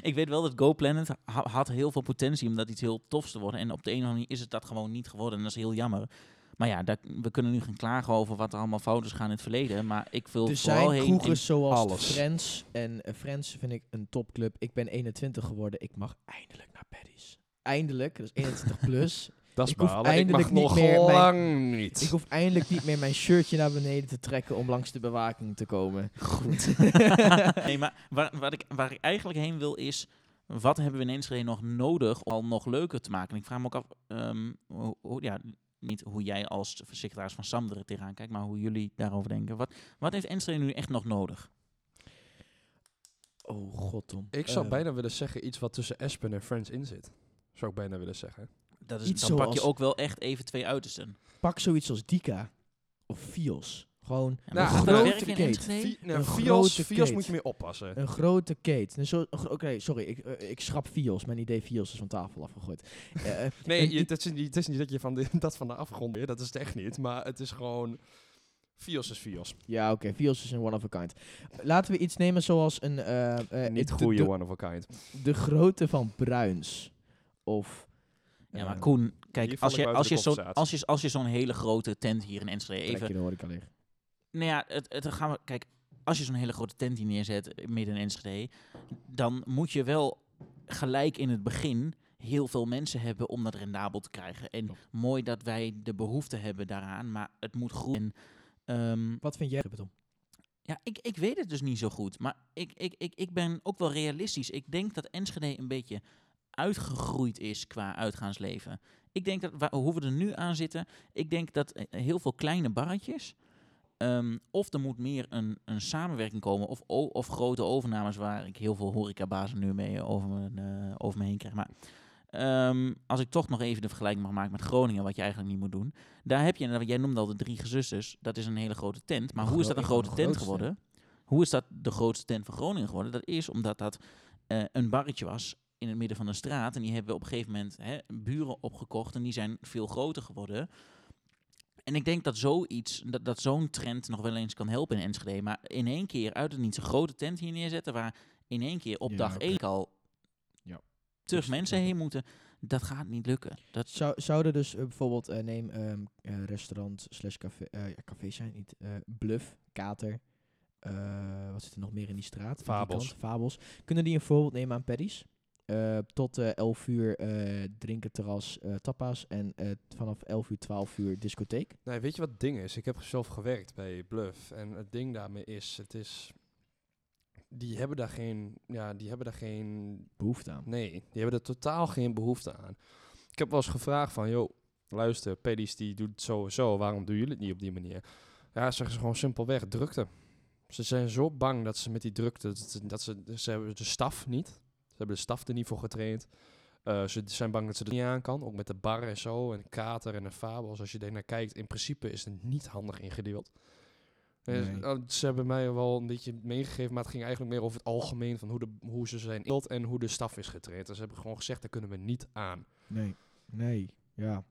S1: ik weet wel dat GoPlanet ha- had heel veel potentie om dat iets heel tofs te worden. En op de een of andere manier is het dat gewoon niet geworden. En dat is heel jammer. Maar ja, daar, we kunnen nu gaan klagen over wat er allemaal fout is gaan in het verleden. Maar ik wil
S2: Er
S1: vooral
S2: zijn
S1: heen...
S2: kroegen zoals
S3: alles.
S2: Friends. En eh, Friends vind ik een topclub. Ik ben 21 geworden. Ik mag eindelijk naar Paddy's. Eindelijk, dat is
S1: *laughs*
S2: 21 plus.
S3: Dat is
S2: Ik hoef
S3: balen. Ik mag
S2: eindelijk niet
S3: nog
S2: meer mijn-
S3: lang niet.
S2: ik hoef eindelijk niet meer mijn shirtje naar beneden te trekken om langs de bewaking te komen.
S1: *laughs* Goed. nee, maar waar, wat ik, waar ik eigenlijk heen wil is... wat hebben we in Enschede nog nodig om al nog leuker te maken? En ik vraag me ook af, ehm, hoe- hoe- ja, niet hoe jij als secretaris van Sam er tegenaan kijkt, maar hoe jullie daarover denken. Wat, wat heeft Enschede nu echt nog nodig?
S2: Oh god, Tom.
S3: Ik zou
S2: Eh,
S3: bijna willen zeggen iets wat tussen Aspen en Friends in zit. Zou ik bijna willen zeggen.
S1: Dat
S2: is- Iets
S1: dan pak je
S2: zoals-
S1: ook wel echt even twee uitersten.
S2: Pak zoiets als Dika of Fios. Gewoon
S1: Ja,
S3: Nou,
S1: maar gaat dat
S3: grote
S1: werken in
S2: keten.
S1: Enschede?
S3: Vi- nou,
S2: een
S3: Fios,
S2: grote
S3: Fios
S2: kate.
S3: moet je meer oppassen.
S2: een grote keten. Een zo- een gro- Oké, sorry, ik, eh, ik schrap Fios. Mijn idee Fios is van tafel afgegooid. Eh,
S3: Nee,
S2: een
S3: je, het, is niet, het is niet dat je van de, *laughs* dat van de afgrond weer, dat is het echt niet. Maar het is gewoon... Fios is Fios.
S2: Ja, oké. Fios is een one of a kind. Laten we iets nemen zoals een... eh, eh,
S3: niet
S2: de-
S3: goede
S2: de,
S3: one of a kind.
S2: de grootte van Bruins. Of...
S1: Ja, maar
S2: eh,
S1: Koen, kijk, als
S3: hier val ik
S1: je,
S3: buiten
S1: als,
S3: de
S1: je zo,
S3: conversatie.
S1: als, je, als je zo'n hele grote tent hier in Enschede
S2: plekje
S1: even...
S2: in de horeca liggen.
S1: Nou ja, het, het, dan gaan we, kijk, als je zo'n hele grote tent hier neerzet eh, midden in Enschede, dan moet je wel gelijk in het begin heel veel mensen hebben om dat rendabel te krijgen. En
S2: Klopt.
S1: mooi dat wij de behoefte hebben daaraan, maar het moet groeien. Ehm,
S2: Wat vind jij, Tom?
S1: ja, ik, ik weet het dus niet zo goed. Maar ik, ik, ik, ik ben ook wel realistisch. Ik denk dat Enschede een beetje uitgegroeid is qua uitgaansleven. Ik denk dat wa- hoe we er nu aan zitten. Ik denk dat eh, heel veel kleine barretjes. ehm, of er moet meer een, een samenwerking komen. Of, o- of grote overnames waar ik heel veel horecabazen nu mee over me, eh, over me heen krijg. Maar ehm, als ik toch nog even de vergelijking mag maken met Groningen. Wat je eigenlijk niet moet doen. Daar heb je, nou, jij noemde al de drie gezusters. Dat is een hele grote tent. Maar hoe is dat een
S2: Gro-
S1: grote
S2: een
S1: tent
S2: grootste.
S1: geworden? Hoe is dat de grootste tent van Groningen geworden? Dat is omdat dat eh, een barretje was in het midden van de straat. En die hebben we op een gegeven moment hè, buren opgekocht. En die zijn veel groter geworden. En ik denk dat zoiets, dat, dat zo'n trend nog wel eens kan helpen in Enschede. Maar in één keer uit het niet zo'n grote tent hier neerzetten. Waar in één keer op
S2: Ja,
S1: dag
S2: oké.
S1: één al
S2: Ja.
S1: terug
S2: Dus-
S1: mensen heen moeten. Dat gaat niet lukken. Dat,
S2: Zou, zouden dus eh, bijvoorbeeld, eh, neem ehm, eh, restaurant slash café, eh, ja, café zijn niet, eh, Bluff, Kater, eh, wat zit er nog meer in die straat? Aan die
S3: Fabels.
S2: kant, Fabels. Kunnen die een voorbeeld nemen aan Paddy's? Eh, tot eh 11 uur eh, drinken, terras, eh, tapas en eh, vanaf 11 uur, 12 uur discotheek.
S3: Nee, weet je wat het ding is? Ik heb zelf gewerkt bij Bluff. En het ding daarmee is, het is... Die hebben daar geen... Ja, die hebben daar geen...
S2: Behoefte aan.
S3: Nee, die hebben er totaal geen behoefte aan. Ik heb wel eens gevraagd van... joh, luister, Pedis die doet het zo en zo. Waarom doen jullie het niet op die manier? Ja, zeggen ze gewoon simpelweg drukte. Ze zijn zo bang dat ze met die drukte... Dat ze, dat ze, ze hebben de staf niet. Ze hebben de staf er niet voor getraind. Eh, ze zijn bang dat ze er niet aan kan. Ook met de bar en zo. En kater en de fabels. Als je daar naar kijkt, in principe is het niet handig ingedeeld. Eh,
S2: Nee.
S3: eh, ze hebben mij wel een beetje meegegeven, maar het ging eigenlijk meer over het algemeen van hoe, de, hoe ze zijn ingedeeld en hoe de staf is getraind. En ze hebben gewoon gezegd, daar kunnen we niet aan.
S2: Nee, nee, ja.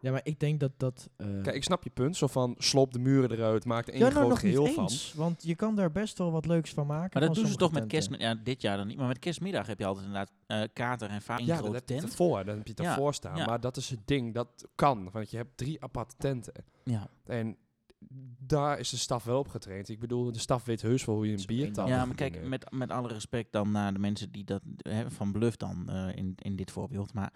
S2: Ja, maar ik denk dat dat... eh,
S3: Kijk, ik snap je punt. Zo van, sloop de muren eruit, maak er één
S2: ja, nou
S3: groot
S2: nog niet
S3: geheel van.
S2: eens, want je kan daar best wel wat leuks van maken.
S1: maar dat
S2: van
S1: doen ze toch
S2: sommige
S1: met
S2: tenten.
S1: kerst... Ja, dit jaar dan niet. Maar met kerstmiddag heb je altijd inderdaad eh, kater en vaak een
S3: Ja, dat
S1: grote
S3: heb je
S1: tent.
S3: ervoor. Dan heb je het
S1: Ja,
S3: ervoor staan.
S1: ja.
S3: Maar dat is het ding, dat kan. Want je hebt drie aparte tenten.
S1: Ja.
S3: En daar is de staf wel op getraind. Ik bedoel, de staf weet heus wel hoe je een
S2: Zo prima.
S3: biertafel
S1: Ja,
S2: andere
S1: maar kijk, met, met alle respect dan naar de mensen die dat hè, van bluff dan eh, in, in dit voorbeeld. Maar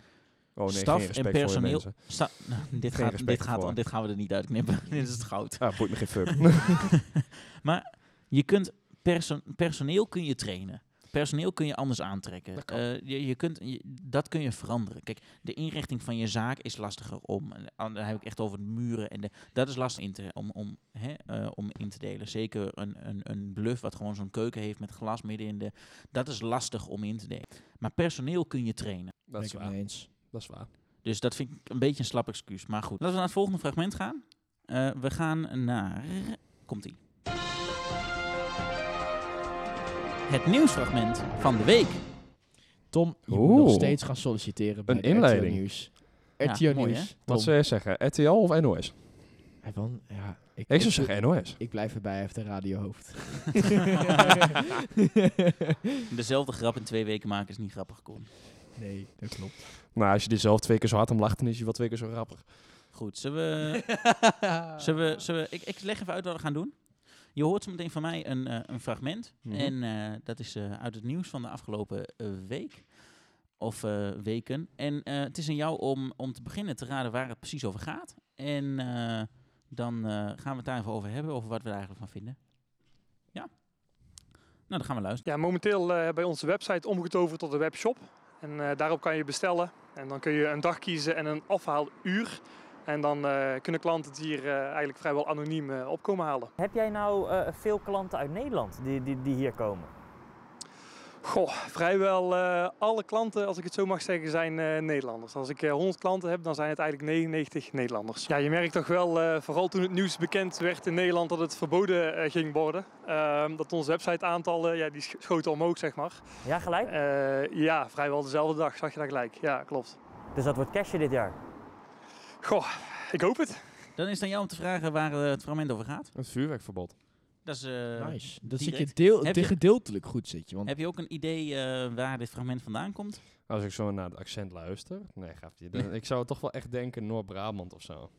S3: oh, nee,
S1: staf
S3: geen respect
S1: en
S3: voor je
S1: personeel-
S3: mensen.
S1: sta- nou,
S3: *laughs*
S1: dit,
S3: Geen
S1: gaat,
S3: respect
S1: dit, gaat,
S3: ervoor.
S1: dit gaan we er niet uitknippen. *laughs* dit is het
S3: *laughs*
S1: goud.
S3: Ah, boeit me
S1: *laughs*
S3: geen fuck.
S1: maar je kunt perso- personeel kun je trainen. Personeel kun je anders aantrekken.
S3: Dat kan.
S1: Eh, je, je kunt, je- dat kun je veranderen. Kijk, de inrichting van je zaak is lastiger om. en an- Daar heb ik echt over de muren. En de, dat is lastig in te, om, om, hè, eh, om in te delen. Zeker een, een, een bluff wat gewoon zo'n keuken heeft met glas midden in de... Dat is lastig om in te delen. Maar personeel kun je trainen.
S3: dat,
S2: Ben
S3: is
S2: ik het
S3: waar.
S2: mee eens.
S3: dat is waar.
S1: Dus dat vind ik een beetje een slap excuus. Maar goed, laten we naar het volgende fragment gaan. Eh, we gaan naar... Komt-ie. Het nieuwsfragment van de week.
S2: Tom, je moet
S3: Oeh.
S2: nog steeds gaan solliciteren bij
S3: Een
S2: de
S3: inleiding.
S2: RTL Nieuws.
S1: Ja,
S2: RTL
S1: mooi,
S2: Nieuws. Tom.
S3: Wat zou jij zeggen? RTL of NOS?
S2: Hij van, ja, ik,
S3: Ik zou zeggen NOS.
S2: ik blijf erbij, hij heeft een
S1: *laughs*
S2: radiohoofd.
S1: Dezelfde grap in twee weken maken is niet grappig, Koen.
S2: nee, dat
S1: *laughs*
S2: klopt.
S3: Nou, als je dit zelf twee keer zo hard om lacht, dan is je wel twee keer zo grappig.
S1: Goed, zullen we... zullen we, zullen we ik, ik leg even uit wat we gaan doen. Je hoort zo meteen van mij een, eh, een fragment.
S3: Mhm.
S1: En eh, dat is eh, uit het nieuws van de afgelopen eh, week. Of eh, weken. En eh, het is aan jou om, om te beginnen te raden waar het precies over gaat. En eh, dan eh, gaan we het daar even over hebben, over wat we er eigenlijk van vinden. Ja? Nou, dan gaan we luisteren.
S4: Ja, momenteel eh, bij onze website omgetoverd tot een webshop. En eh, daarop kan je bestellen. En dan kun je een dag kiezen en een afhaaluur. En dan eh, kunnen klanten het hier eh, eigenlijk vrijwel anoniem eh, opkomen halen.
S5: Heb jij nou eh, veel klanten uit Nederland die, die, die hier komen?
S4: Goh, vrijwel eh, alle klanten, als ik het zo mag zeggen, zijn eh, Nederlanders. Als ik eh, 100 klanten heb, dan zijn het eigenlijk 99 Nederlanders. Ja, je merkt toch wel, eh, vooral toen het nieuws bekend werd in Nederland dat het verboden eh, ging worden, ehm, dat onze website-aantallen, ja, die sch- schoten omhoog, zeg maar.
S5: Ja, gelijk.
S4: Eh, ja, vrijwel dezelfde dag, zag je dat gelijk. Ja, klopt.
S5: Dus dat wordt cashje dit jaar.
S4: Goh, ik hoop het.
S1: Dan is het aan jou om te vragen waar eh, het fragment over gaat.
S3: Het vuurwerkverbod.
S1: Dat is, eh,
S2: Nice. Dat zit je
S1: direct.
S2: deel,
S1: Heb je-
S2: de- gedeeltelijk goed, zit je. Want
S1: Heb je ook een idee eh, waar dit fragment vandaan komt?
S3: Als ik zo naar het accent luister. Nee, gaat
S1: *laughs*
S3: die. dan- ik zou toch wel echt denken Noord-Brabant of zo.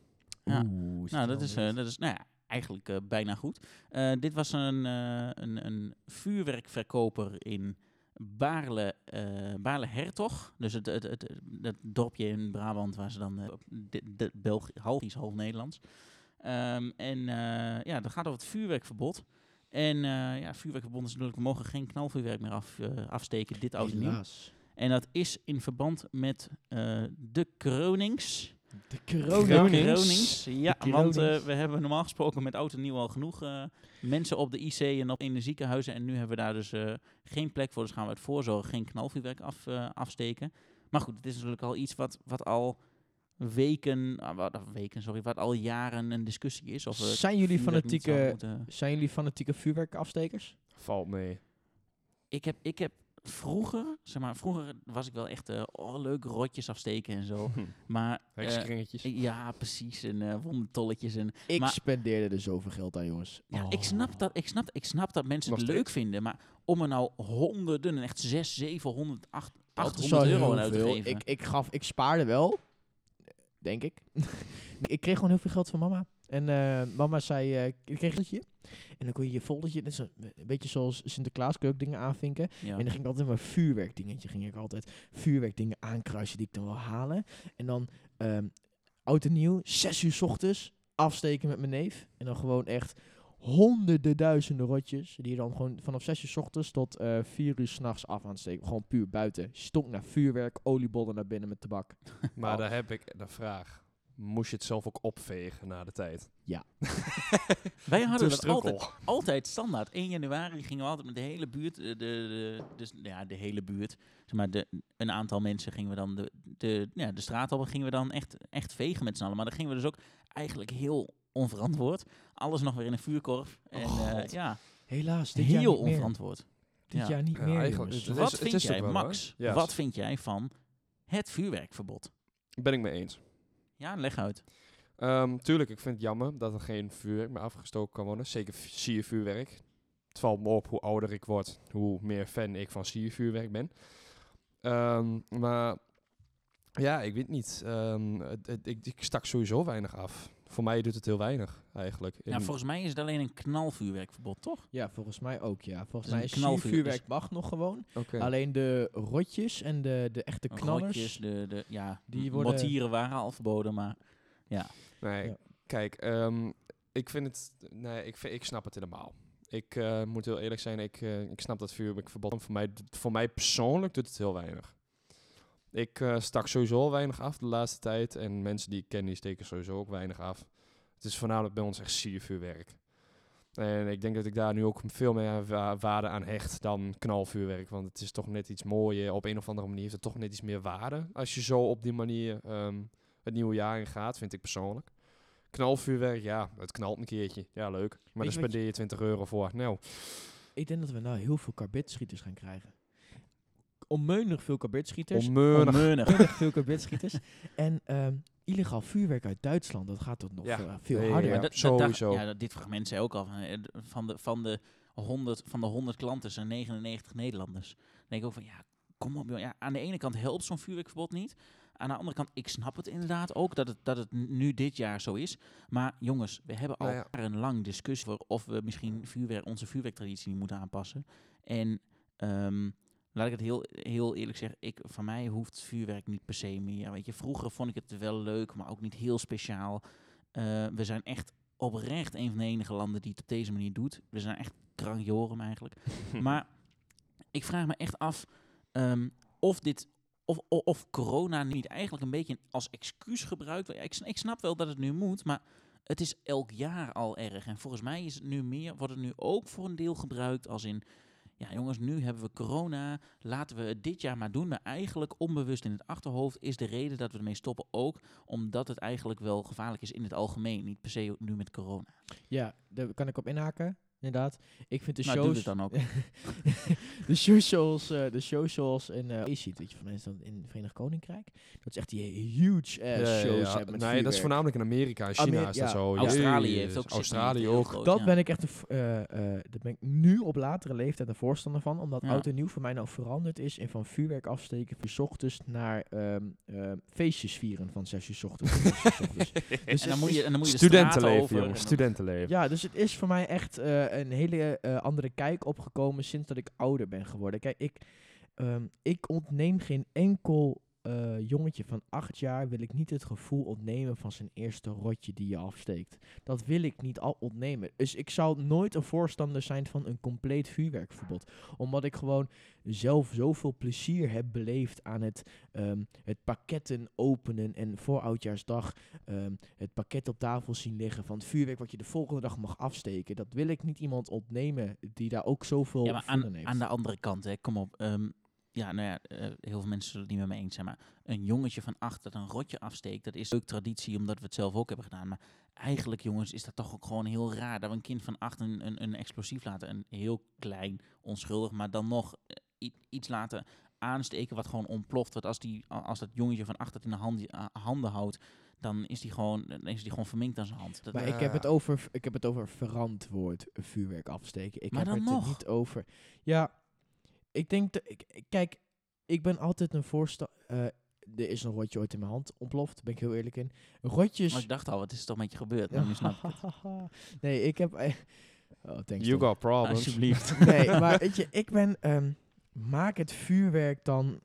S1: Ja.
S2: Oeh, zit
S1: Nou,
S2: er
S1: dat
S2: wel
S1: is,
S2: wat.
S1: eh, dat is nou ja, eigenlijk eh, bijna goed. Eh, dit was een, eh, een, een vuurwerkverkoper in Baarle, eh Baarle Hertog. Dus het, het, het, dat dorpje in Brabant waar ze dan eh, op- de, de Belgisch, half iets, half Nederlands. Ehm, en eh, ja, dat gaat over het vuurwerkverbod. En eh, ja, vuurwerkverbod is natuurlijk, we mogen geen knalvuurwerk meer af, eh, afsteken, dit oud en nieuw.
S2: Helaas.
S1: En dat is in verband met eh, de Kronings.
S2: De
S1: Gronings.
S2: Gronings.
S1: Ja,
S2: De
S1: want eh,
S2: Gronings.
S1: we hebben normaal gesproken met oud en nieuw al genoeg eh, mensen op de IC en op, in de ziekenhuizen. En nu hebben we daar dus eh, geen plek voor. Dus gaan we het voorzorg geen knalvuurwerk af, eh, afsteken. Maar goed, het is natuurlijk al iets wat, wat al weken, ah, wat, ah, weken, sorry, wat al jaren een discussie is. Of we het
S2: Zijn jullie
S1: vuurwerk niet zouden
S2: fanatieke,
S1: moeten-
S2: zijn jullie fanatieke vuurwerkafstekers?
S3: Valt mee.
S1: Ik heb, ik heb vroeger, zeg maar, vroeger was ik wel echt eh, oh, leuk rotjes afsteken en
S2: *laughs*
S1: zo. Maar Oh. eh,
S3: Hm. Hekskringetjes.
S1: ja, precies. En eh wondtolletjes en
S2: Ik
S1: Maar-
S2: spendeerde er zoveel geld aan, jongens.
S1: Ja,
S2: Oh.
S1: ik, snap dat, ik, snap, ik snap dat mensen
S3: Nog
S1: het leuk vinden, maar om er nou honderden, en echt 6, 700, 8,
S2: Dat is
S1: 800
S2: wel
S1: euro
S2: heel
S1: aan uit te
S2: veel.
S1: geven.
S2: Ik, ik, gaf, ik spaarde wel, denk ik. *laughs* ik kreeg gewoon heel veel geld van mama. En eh, mama zei, eh, ik kreeg een En dan kon je je foldertje, net zo, een beetje zoals Sinterklaas, kun je ook dingen aanvinken.
S1: ja.
S2: En dan ging ik altijd mijn vuurwerkdingetje, ging ik altijd vuurwerkdingen aankruisen die ik dan wil halen. En dan ehm oud en nieuw, zes uur 's ochtends, afsteken met mijn neef. En dan gewoon echt honderden duizenden rotjes, die je dan gewoon vanaf zes uur 's ochtends tot eh vier uur s'nachts af aansteken. Gewoon puur buiten. Stonk naar vuurwerk, oliebollen naar binnen met tabak.
S3: Maar
S2: Oh.
S3: daar heb ik de vraag. Moest je het zelf ook opvegen na de tijd?
S2: Ja.
S3: *laughs*
S1: Wij hadden
S3: Toen
S1: dat
S3: strukkel.
S1: altijd, altijd standaard. 1 januari gingen we altijd met de hele buurt, eh, de, de, dus, nou ja, de hele buurt, zeg maar de, een aantal mensen gingen we dan de, de, ja, de straat op en gingen we dan echt, echt vegen met z'n allen. Maar dan gingen we dus ook eigenlijk heel onverantwoord, alles nog weer in een vuurkorf. En
S2: Oh,
S1: eh,
S2: God.
S1: ja,
S2: Helaas, dit jaar
S1: heel
S2: niet meer.
S1: onverantwoord.
S2: Dit
S1: Ja.
S2: jaar niet
S3: Ja,
S2: meer,
S3: eigenlijk-
S2: jongens.
S3: het is-
S1: Wat
S3: het
S1: vind
S3: is
S1: jij,
S3: ook wel,
S1: Max,
S3: hoor. Ja,
S1: wat
S3: s-
S1: vind jij van het vuurwerkverbod?
S3: Ben ik mee eens.
S1: Ja, leg uit.
S3: Ehm, tuurlijk, ik vind het jammer dat er geen vuurwerk meer afgestoken kan worden. Zeker v- siervuurwerk. Het valt me op hoe ouder ik word, hoe meer fan ik van siervuurwerk ben. Ehm, maar ja, ik weet niet. Ehm, het- het- ik, ik stak sowieso weinig af. Voor mij doet het heel weinig eigenlijk.
S1: Nou,
S3: In-
S1: volgens mij is het alleen een knalvuurwerkverbod, toch?
S2: Ja, volgens mij ook, ja. Volgens
S1: is een
S2: mij is
S1: knalvuur,
S2: vuurwerk mag nog gewoon.
S3: Oké.
S2: Alleen de rotjes en de, de echte knallers.
S1: Rotjes, de, de, ja,
S2: Die
S1: die
S2: worden-
S1: mortieren waren al verboden, maar
S3: Nee,
S2: Ja.
S3: kijk, ehm, ik vind het. Nee, ik, vind- ik snap het helemaal. Ik eh, moet heel eerlijk zijn, ik, eh, ik snap dat vuurwerkverbod. Voor mij, voor mij persoonlijk doet het heel weinig. Ik eh, stak sowieso al weinig af de laatste tijd. En mensen die ik ken, die steken sowieso ook weinig af. Het is voornamelijk bij ons echt siervuurwerk. En ik denk dat ik daar nu ook veel meer wa- waarde aan hecht dan knalvuurwerk. Want het is toch net iets mooier. Op een of andere manier heeft het toch net iets meer waarde. Als je zo op die manier ehm, het nieuwe jaar in gaat, vind ik persoonlijk. Knalvuurwerk, ja, het knalt een keertje. Ja, leuk. Maar
S2: je wat
S3: daar spendeer je 20 euro voor. Nou,
S2: Ik denk dat we nou heel veel karbitschieters gaan krijgen. Onmeunig veel karbitschieters.
S3: onmeunig.
S1: onmeunig.
S2: Onmeunig veel karbitschieters. *laughs* en ehm, illegaal vuurwerk uit Duitsland, dat gaat tot nog
S3: Ja.
S2: veel, veel
S3: Nee,
S2: harder.
S3: ja.
S1: Maar
S2: Maar
S1: dat- dat dacht-
S3: sowieso.
S1: ja, dat- dit fragment zei ook al, van, eh, d- van de, van de 100, van de 100 klanten zijn 99 Nederlanders. Dan denk ik ook van, ja, kom op. joh. Ja, aan de ene kant helpt zo'n vuurwerkverbod niet. Aan de andere kant, ik snap het inderdaad ook dat het, dat het nu dit jaar zo is. Maar jongens, we hebben al
S3: Nou ja.
S1: een lang discussie over of we misschien vuurwerk, onze vuurwerktraditie niet moeten aanpassen. En ehm, laat ik het heel, heel eerlijk zeggen, ik, van mij hoeft vuurwerk niet per se meer. Weet je, vroeger vond ik het wel leuk, maar ook niet heel speciaal. Eh, we zijn echt oprecht een van de enige landen die het op deze manier doet. We zijn echt krankjorum eigenlijk. Oh,
S3: *laughs*
S1: maar ik vraag me echt af ehm, of dit... Of, of, of corona niet eigenlijk een beetje als excuus gebruikt. wordt. Ja, Ik, sn- ik snap wel dat het nu moet, maar het is elk jaar al erg. En volgens mij is het nu meer, wordt het nu ook voor een deel gebruikt als in... Ja jongens, nu hebben we corona, laten we het dit jaar maar doen. Maar eigenlijk onbewust in het achterhoofd is de reden dat we ermee stoppen ook... omdat het eigenlijk wel gevaarlijk is in het algemeen. Niet per se nu met corona.
S2: Ja, daar kan ik op inhaken. Inderdaad. Ik vind de
S1: Nou, doe
S2: shows...
S1: het dan ook.
S2: *laughs* de shows zoals, eh, de shows zoals in eh je ziet, weet je, van mensen dan in het Verenigd Koninkrijk. Dat is echt die huge ass
S3: Ja, ja,
S2: eh, shows
S3: ja.
S2: hebben met
S3: Nee, dat is
S2: vuurwerk.
S3: voornamelijk in Amerika. In China
S2: Amer-
S3: is dat
S2: ja.
S3: zo.
S1: Australië
S3: Oh, Jezus.
S1: heeft ook... Sydney,
S3: Australië
S1: heel
S3: ook.
S1: groot,
S2: Dat
S1: ja.
S2: ben ik echt een, v- eh, eh, daar ben ik nu op latere leeftijd een voorstander van. Omdat
S1: Ja.
S2: oud en nieuw voor mij nou veranderd is in van vuurwerk afsteken van 's ochtends naar ehm, ehm, feestjes vieren van 6 uur 's
S1: *laughs*
S2: ochtends. tot 6 uur 's ochtends. Dus
S1: En dan
S2: het
S1: moet
S2: is-
S1: je, en dan moet je de straat
S3: Studentenleven,
S1: over
S3: jongens.
S1: en dan-
S3: Studentenleven.
S2: Ja, dus het is voor mij echt eh, een hele eh, andere kijk opgekomen sinds dat ik ouder ben geworden. Kijk, ik, ehm, ik ontneem geen enkel eh, jongetje van acht jaar, wil ik niet het gevoel ontnemen van zijn eerste rotje die je afsteekt. Dat wil ik niet al ontnemen. Dus ik zou nooit een voorstander zijn van een compleet vuurwerkverbod. Omdat ik gewoon zelf zoveel plezier heb beleefd aan het, ehm, het pakketten openen en voor oudjaarsdag ehm, het pakket op tafel zien liggen van het vuurwerk wat je de volgende dag mag afsteken. Dat wil ik niet iemand ontnemen die daar ook zoveel
S1: Ja, maar
S2: voelen
S1: aan,
S2: heeft.
S1: aan de andere kant, hè, kom op. ehm, ja, nou ja, eh, heel veel mensen zullen het niet met me eens zijn. Maar een jongetje van acht dat een rotje afsteekt, dat is ook traditie, omdat we het zelf ook hebben gedaan. Maar eigenlijk, jongens, is dat toch ook gewoon heel raar dat we een kind van acht een, een, een explosief laten. Een heel klein, onschuldig, maar dan nog eh, i- iets laten aansteken wat gewoon ontploft. Want als, die, a- als dat jongetje van acht dat in de hand, a- handen houdt, dan is die gewoon, dan is die gewoon verminkt aan zijn hand. Dat,
S2: Maar ik heb, het over, ik heb het over verantwoord vuurwerk afsteken. Ik
S1: Maar
S2: heb
S1: dan
S2: het er
S1: nog.
S2: niet over. Ja, ik denk dat. Ik, ik- kijk, ik ben altijd een voorstander. er is een rotje ooit in mijn hand ontploft, ben ik heel eerlijk in. Rotjes.
S1: maar ik dacht al, wat is er toch met je gebeurd? Nou, nu snap ik
S2: *laughs*
S1: het.
S2: nee, ik heb. eh, *laughs* oh, thanks.
S3: You
S2: Tom.
S3: got problems. *laughs*
S1: Alsjeblieft.
S2: Nee, maar weet je, ik ben. ehm, maak het vuurwerk dan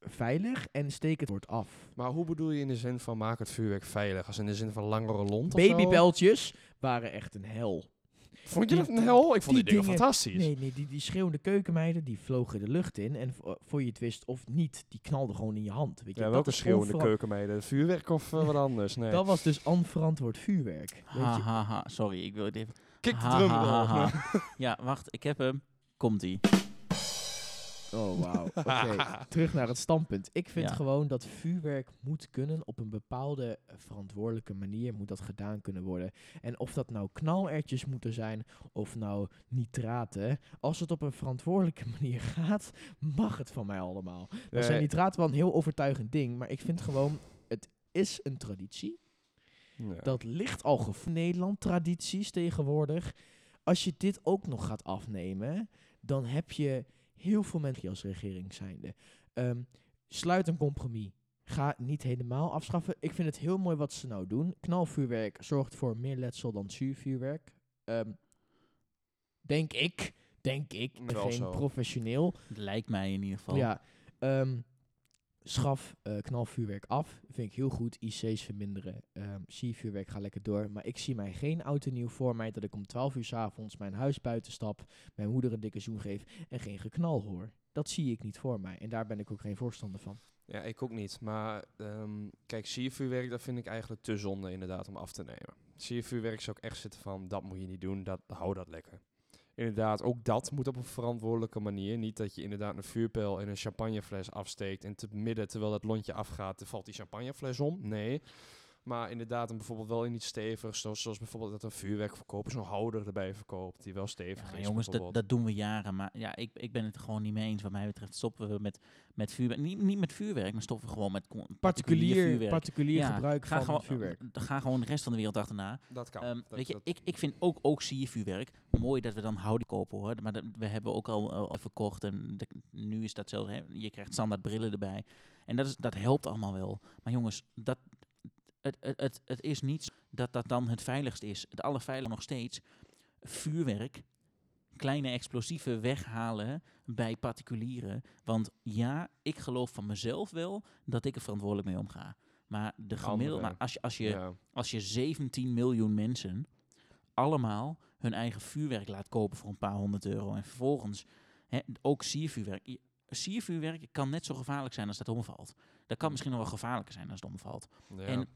S2: veilig en steek het woord af.
S3: Maar hoe bedoel je in de zin van maak het vuurwerk veilig? Als in de zin van langere lont of zo?
S2: Babybeltjes waren echt een hel.
S3: Vond je dat
S2: Die-
S3: een hel? Ik vond
S2: die
S3: die dingen
S2: dingen-
S3: fantastisch.
S2: Nee, nee die, die schreeuwende keukenmeiden, die vlogen de lucht in. En vo- voor je het wist of niet, die knalden gewoon in je hand. Weet je?
S3: Ja,
S2: dat
S3: welke
S2: is
S3: schreeuwende
S2: onveran-
S3: keuken mee? De vuurwerk of eh, wat anders? Nee.
S2: Dat was dus onverantwoord vuurwerk. Weet je?
S1: Ha, ha, ha. Sorry, ik wil het even...
S3: Kik de
S1: Ha,
S3: drum
S1: ha, ha,
S3: erop.
S1: ha. Ja, wacht, ik heb hem.
S3: *laughs*
S1: Komt-ie.
S2: Oh, wauw. Oké, terug naar het standpunt. Ik vind
S1: Ja.
S2: gewoon dat vuurwerk moet kunnen op een bepaalde eh, verantwoordelijke manier moet dat gedaan kunnen worden. En of dat nou knalertjes moeten zijn of nou nitraten, als het op een verantwoordelijke *laughs* manier gaat, mag het van mij allemaal. Dan
S3: Nee.
S2: zijn nitraten wel een heel overtuigend ding, maar ik vind gewoon, het is een traditie.
S3: Ja.
S2: Dat ligt al gevoed. Nederland tradities tegenwoordig. Als je dit ook nog gaat afnemen, dan heb je heel veel mensen die als regering zijnde. Ehm, sluit een compromis. Ga niet helemaal afschaffen. Ik vind het heel mooi wat ze nou doen. Knalvuurwerk zorgt voor meer letsel dan zuurvuurwerk. Ehm, denk ik. Denk ik.
S3: Wel
S2: Geen
S3: zo.
S2: professioneel.
S1: Lijkt mij in ieder geval.
S2: Ja, ehm, schaf eh, knalvuurwerk af. Vind ik heel goed. IC's verminderen. Ehm zie vuurwerk ga lekker door. Maar ik zie mij geen oud en nieuw voor mij dat ik om 12 uur s'avonds mijn huis buiten stap, mijn moeder een dikke zoen geef en geen geknal hoor. Dat zie ik niet voor mij. En daar ben ik ook geen voorstander van.
S3: Ja, ik ook niet. Maar ehm kijk, siervuurwerk, dat vind ik eigenlijk te zonde inderdaad om af te nemen. Siervuurwerk zou ik echt zitten van, dat moet je niet doen, dat, hou dat lekker. Inderdaad, ook dat moet op een verantwoordelijke manier. Niet dat je inderdaad een vuurpijl in een champagnefles afsteekt en te midden, terwijl dat lontje afgaat, dan valt die champagnefles om. Nee. Maar inderdaad, hem bijvoorbeeld wel in iets stevigs, zoals, zoals bijvoorbeeld dat een vuurwerkverkoper zo'n houder erbij verkoopt, die wel
S1: Ja,
S3: stevig
S1: maar
S3: is.
S1: jongens, dat,
S3: bijvoorbeeld.
S1: dat doen we jaren. Maar ja, ik, ik ben het er gewoon niet mee eens. Wat mij betreft stoppen we met, met vuurwerk. Niet, niet met vuurwerk, maar stoppen we gewoon met con-
S2: Particulier,
S1: vuurwerk.
S2: particulier
S1: Ja,
S2: gebruik
S1: ga
S2: van
S1: gewoon,
S2: vuurwerk.
S1: Ga gewoon de rest van de wereld achterna.
S3: Dat kan.
S1: Ehm,
S3: Dat-
S1: weet je,
S3: dat-
S1: ik, ik vind ook, ook siervuurwerk mooi dat we dan houden kopen hoor. Maar dat, we hebben ook al, eh, al verkocht en de- nu is dat zelfs, hè, je krijgt standaard brillen erbij. En dat, is, dat helpt allemaal wel. Maar jongens, dat, het, het, het, het is niet zo dat dat dan het veiligst is. Het allerveiligste nog steeds, vuurwerk, kleine explosieven weghalen bij particulieren. Want ja, ik geloof van mezelf wel dat ik er verantwoordelijk mee omga. Maar, de gemiddelde,
S3: Anderen.
S1: maar als je, als je
S3: ja.
S1: als je 17 miljoen mensen allemaal hun eigen vuurwerk laat kopen voor een paar honderd euro. En vervolgens hè, ook siervuurwerk. Je- Siervuurwerk kan net zo gevaarlijk zijn als dat omvalt. Dat kan misschien nog wel gevaarlijker zijn als het omvalt.
S3: Ja.
S1: En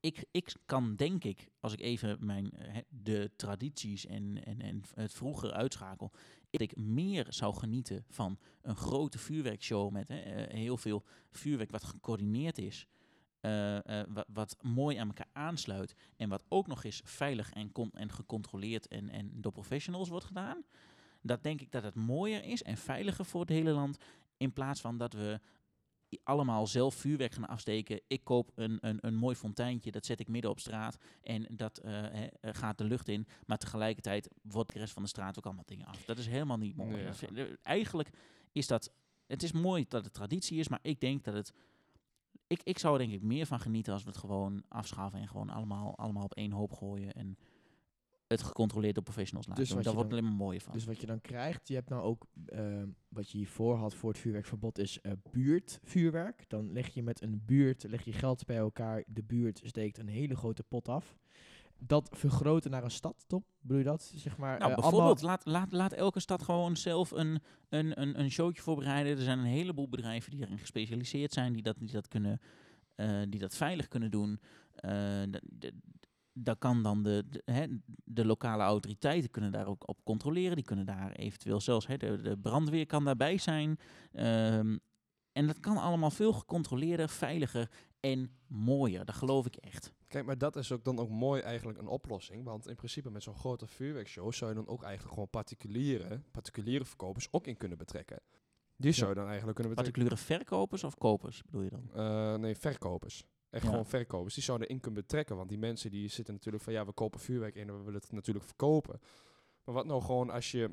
S1: ik, ik kan denk ik, als ik even mijn, eh, hè, de tradities en, en, en het vroeger uitschakel, dat ik meer zou genieten van een grote vuurwerkshow met hè, eh, heel veel vuurwerk wat gecoördineerd is. eh, eh, wa- wat mooi aan elkaar aansluit. En wat ook nog eens veilig en, con- en gecontroleerd en, en door professionals wordt gedaan. Dat denk ik dat het mooier is en veiliger voor het hele land. In plaats van dat we i- allemaal zelf vuurwerk gaan afsteken. Ik koop een, een, een mooi fonteintje, dat zet ik midden op straat. En dat eh, hè, eh, gaat de lucht in. Maar tegelijkertijd wordt de rest van de straat ook allemaal dingen af. Dat is helemaal niet mooi.
S3: Nee.
S1: Dat vind- eh, Eigenlijk is dat... Het is mooi dat het traditie is, maar ik denk dat het... Ik, ik zou er denk ik meer van genieten als we het gewoon afschaffen en gewoon allemaal, allemaal op één hoop gooien. En het gecontroleerd door professionals laten
S2: Dus
S1: doen.
S2: wat
S1: Daar
S2: je
S1: wordt
S2: dan-
S1: alleen maar mooier van.
S2: Dus wat je dan krijgt, je hebt nou ook, ehm, wat je hiervoor had voor het vuurwerkverbod, is eh, buurtvuurwerk. Dan leg je met een buurt, leg je geld bij elkaar, de buurt steekt een hele grote pot af. Dat vergroten naar een stad, Tom? Bedoel je dat? Zeg maar,
S1: Nou,
S2: eh,
S1: bijvoorbeeld, laat, laat, laat elke stad gewoon zelf een, een, een, een showtje voorbereiden. Er zijn een heleboel bedrijven die erin gespecialiseerd zijn, die dat, die dat, kunnen, eh, die dat veilig kunnen doen. Eh, dat- dat- Daar kan dan de, de, hè, de lokale autoriteiten kunnen daar ook op controleren. Die kunnen daar eventueel zelfs, hè, de, de brandweer kan daarbij zijn. Ehm, en dat kan allemaal veel gecontroleerder, veiliger en mooier. Dat geloof ik echt.
S3: Kijk, maar dat is ook dan ook mooi eigenlijk een oplossing. Want in principe met zo'n grote vuurwerkshow zou je dan ook eigenlijk gewoon particuliere, particuliere verkopers ook in kunnen betrekken. Die zou je dan eigenlijk kunnen betrekken.
S1: Particuliere verkopers of kopers bedoel je dan?
S3: Eh, nee, verkopers. Echt
S1: Ja.
S3: gewoon verkopers. Die zouden in kunnen betrekken. Want die mensen die zitten natuurlijk van ja, we kopen vuurwerk in en we willen het natuurlijk verkopen. Maar wat nou gewoon als je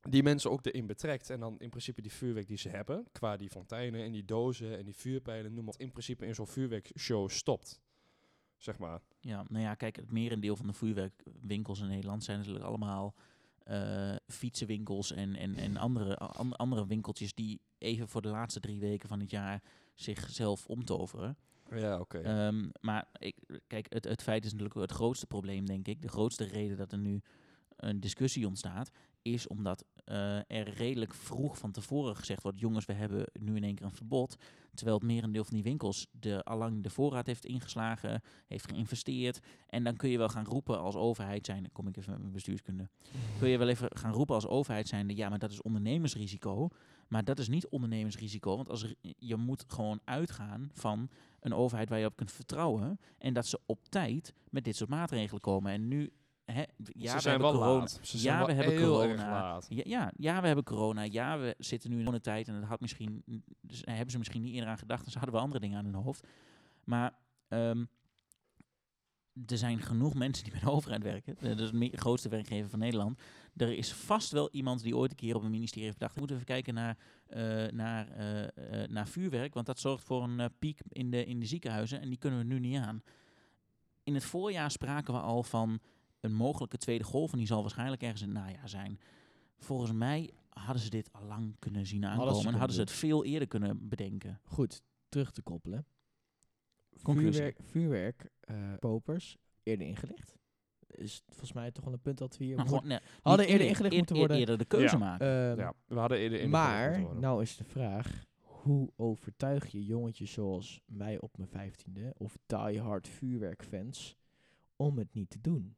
S3: die mensen ook erin betrekt en dan in principe die vuurwerk die ze hebben, qua die fonteinen en die dozen en die vuurpijlen, noem maar op, in principe in zo'n vuurwerkshow stopt. Zeg maar.
S1: Ja, nou ja, kijk, het merendeel van de vuurwerkwinkels in Nederland zijn natuurlijk allemaal eh, fietsenwinkels en, en, en andere, a- an- andere winkeltjes die even voor de laatste drie weken van het jaar zichzelf omtoveren.
S3: Ja, oké.
S1: Ehm, maar ik, kijk, het, het feit is natuurlijk het grootste probleem, denk ik. De grootste reden dat er nu een discussie ontstaat, is omdat eh, er redelijk vroeg van tevoren gezegd wordt: jongens, we hebben nu in één keer een verbod. Terwijl het merendeel van die winkels de, allang de voorraad heeft ingeslagen, heeft geïnvesteerd. En dan kun je wel gaan roepen als overheid zijn. Dan kom ik even met mijn bestuurskunde.
S3: Mhm.
S1: Kun je wel even gaan roepen als overheid zijnde. Ja, maar dat is ondernemersrisico. Maar dat is niet ondernemersrisico. Want als er- je moet gewoon uitgaan van een overheid waar je op kunt vertrouwen. En dat ze op tijd met dit soort maatregelen komen. En nu. Hè, ja, we
S3: Ze zijn
S1: hebben
S3: wel
S1: corona.
S3: laat. Ze
S1: Ja,
S3: zijn wel
S1: we hebben
S3: heel erg
S1: corona.
S3: laat.
S1: Ja, ja, ja, we hebben corona. Ja, we zitten nu in een tijd. En dat had misschien, dus hebben ze misschien niet eerder aan gedacht. En ze hadden wel andere dingen aan hun hoofd. Maar ehm, er zijn genoeg mensen die bij de overheid werken. Eh, Dat is de me- grootste werkgever van Nederland. Er is vast wel iemand die ooit een keer op het ministerie heeft bedacht. We moeten even kijken naar, eh, naar, eh, eh, naar vuurwerk. Want dat zorgt voor een eh, piek in de, in de ziekenhuizen. En die kunnen we nu niet aan. In het voorjaar spraken we al van een mogelijke tweede golf. En die zal waarschijnlijk ergens in het najaar zijn. Volgens mij hadden ze dit al lang kunnen zien
S2: ze
S1: aankomen. en
S2: kunnen
S1: hadden ze het veel eerder kunnen bedenken.
S2: Goed, terug te koppelen.
S1: Conclusie.
S2: Vuurwerk, vuurwerk eh, kopers, eerder ingelicht. Is volgens mij toch wel een punt dat we hier
S1: Maar
S2: moeten-
S1: gewoon, nee,
S2: Hadden
S1: niet
S2: eerder ingelicht
S1: eer-
S2: moeten
S1: eer-
S2: worden.
S1: Eerder de keuze
S3: Ja.
S1: maken.
S2: Ehm,
S3: Ja, we hadden eerder in
S2: Maar, nou is de vraag, hoe overtuig je jongetjes zoals mij op mijn vijftiende of diehard vuurwerkfans om het niet te doen?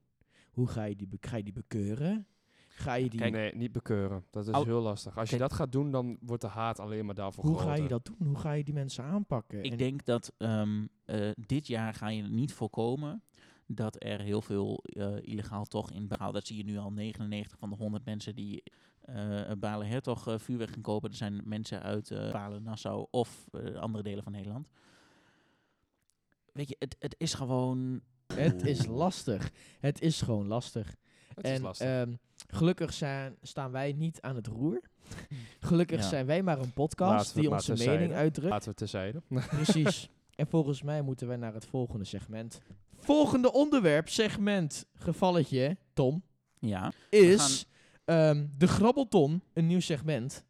S2: Hoe ga je die, be- ga je die bekeuren? Ga je die,
S3: nee, niet bekeuren. Dat is
S1: Au-
S3: heel lastig. Als je
S1: Kijk-
S3: dat gaat doen, dan wordt de haat alleen maar daarvoor
S2: hoe
S3: groter.
S2: ga je dat doen? Hoe ga je die mensen aanpakken? En
S1: Ik denk dat ehm, eh, dit jaar ga je niet voorkomen dat er heel veel eh, illegaal toch in behaal. Dat zie je nu al 99 van de 100 mensen die eh Balen Hertog eh, vuurwerk gaan kopen. Er zijn mensen uit eh, Balen, Nassau of eh, andere delen van Nederland. Weet je, het, het is gewoon.
S2: Het is lastig. Het is gewoon lastig.
S3: Het
S2: en
S3: is lastig.
S2: ehm, gelukkig zijn, staan wij niet aan het
S3: *laughs*
S2: roer. gelukkig
S1: Ja.
S2: zijn wij maar een
S3: Laten
S2: podcast
S3: we het
S2: die
S3: maar
S2: onze
S3: terzijde.
S2: mening uitdrukt.
S3: Laten we terzijde. *laughs*
S2: Precies. En volgens mij moeten wij naar het volgende segment. Volgende onderwerp, segment, gevalletje, Tom,
S1: Ja,
S2: is ehm, de Grabbelton, een nieuw segment.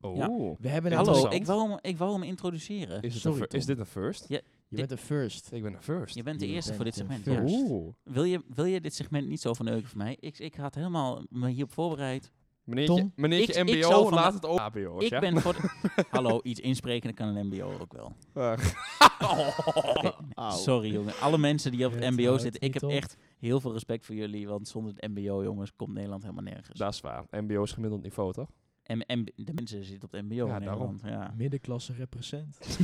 S3: Oh.
S1: Ja.
S2: We hebben
S1: hallo.
S2: namelijk-
S1: Ik wou, hem, ik wou hem introduceren.
S3: Is, het
S2: Sorry,
S3: een fir-
S2: Tom.
S3: is dit een first?
S1: Ja,
S2: Je bent de first.
S3: Ik ben een first.
S1: Je bent de
S2: Je
S1: eerste
S2: bent
S1: voor dit
S2: de
S1: segment.
S2: first.
S1: ja.
S3: Oeh.
S1: Wil, je, wil je dit segment niet zo verneuken voor mij? Ik, ik had helemaal me hierop voorbereid.
S3: Meneertje,
S2: Tom?
S3: meneertje
S1: Ik- ik zou
S3: MBO,
S1: van
S3: laat
S1: de-
S3: het ook HBO's,
S1: ik
S3: ja?
S1: ben voor... de- Hallo, iets insprekender kan een mbo ook wel.
S3: Eh,
S2: Au.
S1: Sorry jongen. Alle mensen die op het
S2: Het
S1: mbo
S2: houdt
S1: zitten. Ik
S2: niet
S1: heb
S2: op.
S1: echt heel veel respect voor jullie. Want zonder het mbo jongens komt Nederland helemaal nergens.
S3: *laughs* dat is waar. MBO is gemiddeld
S2: *laughs*
S3: niveau, toch?
S1: En, en de mensen zitten op het mbo
S3: Ja,
S1: in
S3: daarom.
S1: Nederland. Ja.
S2: Middenklasse represent.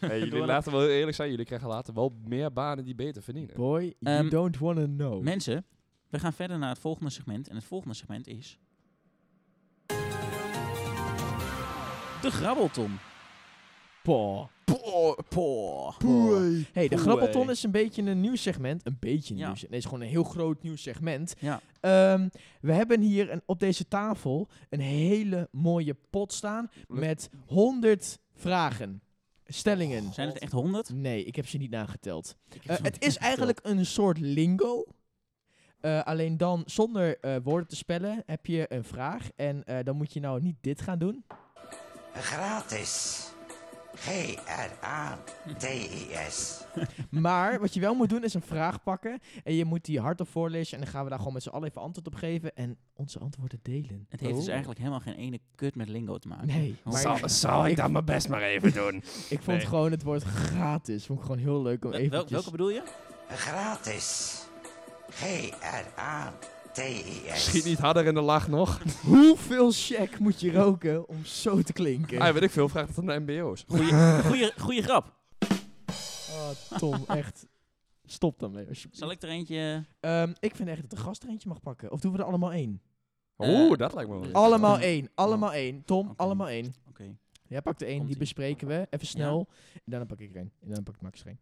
S3: Hey, jullie
S1: Door-
S3: laten wel eerlijk zijn, jullie krijgen later wel meer banen die beter verdienen.
S2: Boy, you
S1: Ehm,
S2: don't wanna know.
S1: Mensen, we gaan verder naar het volgende segment. En het volgende segment is... De grabbelton.
S2: Poh.
S1: Poor, poor.
S2: Hey, de
S3: Poeh,
S2: Grabbelton
S3: hey.
S2: is een beetje een nieuw segment. Een beetje een
S1: Ja.
S2: nieuw segment. Nee, het is gewoon een heel groot nieuw segment.
S1: Ja.
S2: Ehm, we hebben hier een, op deze tafel een hele mooie pot staan met 100 vragen. Stellingen.
S1: Zijn het echt honderd?
S2: Nee, ik heb ze niet nageteld. Eh, het is eigenlijk een soort lingo. Eh, alleen dan zonder eh, woorden te spellen heb je een vraag. En eh, dan moet je nou niet dit gaan doen.
S6: Gratis. G-R-A-T-I-S.
S2: *laughs* Maar wat je wel moet doen is een vraag pakken. En je moet die hardop voorlezen. En dan gaan we daar gewoon met z'n allen even antwoord op geven. En onze antwoorden delen.
S1: Het heeft dus
S3: Oh.
S1: eigenlijk helemaal geen ene kut met lingo te maken.
S2: Nee,
S1: Hoe-
S2: maar-
S3: Zal, zal ik dat mijn best maar even doen?
S2: Ik vond
S3: Nee.
S2: gewoon het woord gratis. Vond ik gewoon heel leuk om
S1: Wel- wel-
S2: eventjes...
S1: welke bedoel je? *laughs*
S6: Gratis. G-R-A-T-I-S.
S3: Schiet niet harder in de lach nog.
S2: *laughs* Hoeveel check moet je roken om zo te klinken?
S3: Ah, weet ik veel, vraag dat aan de MBO's.
S1: Goeie, goeie, goeie grap.
S2: Oh,
S1: *laughs*
S2: Tom, echt. Stop dan mee alsjeblieft.
S1: Zal ik er eentje...
S2: Ehm, ik vind echt dat de gast er eentje mag pakken. Of doen we er allemaal één?
S1: Eh,
S3: Oeh, dat lijkt me wel.
S1: Al-
S2: Allemaal
S1: Oh.
S2: één. Allemaal één. Tom,
S1: Oké.
S2: allemaal één.
S1: Oké.
S2: Jij pakt er één, die
S1: Komt-ie.
S2: bespreken we. Even snel. En daarna pak ik er één. En daarna pakt Max er één.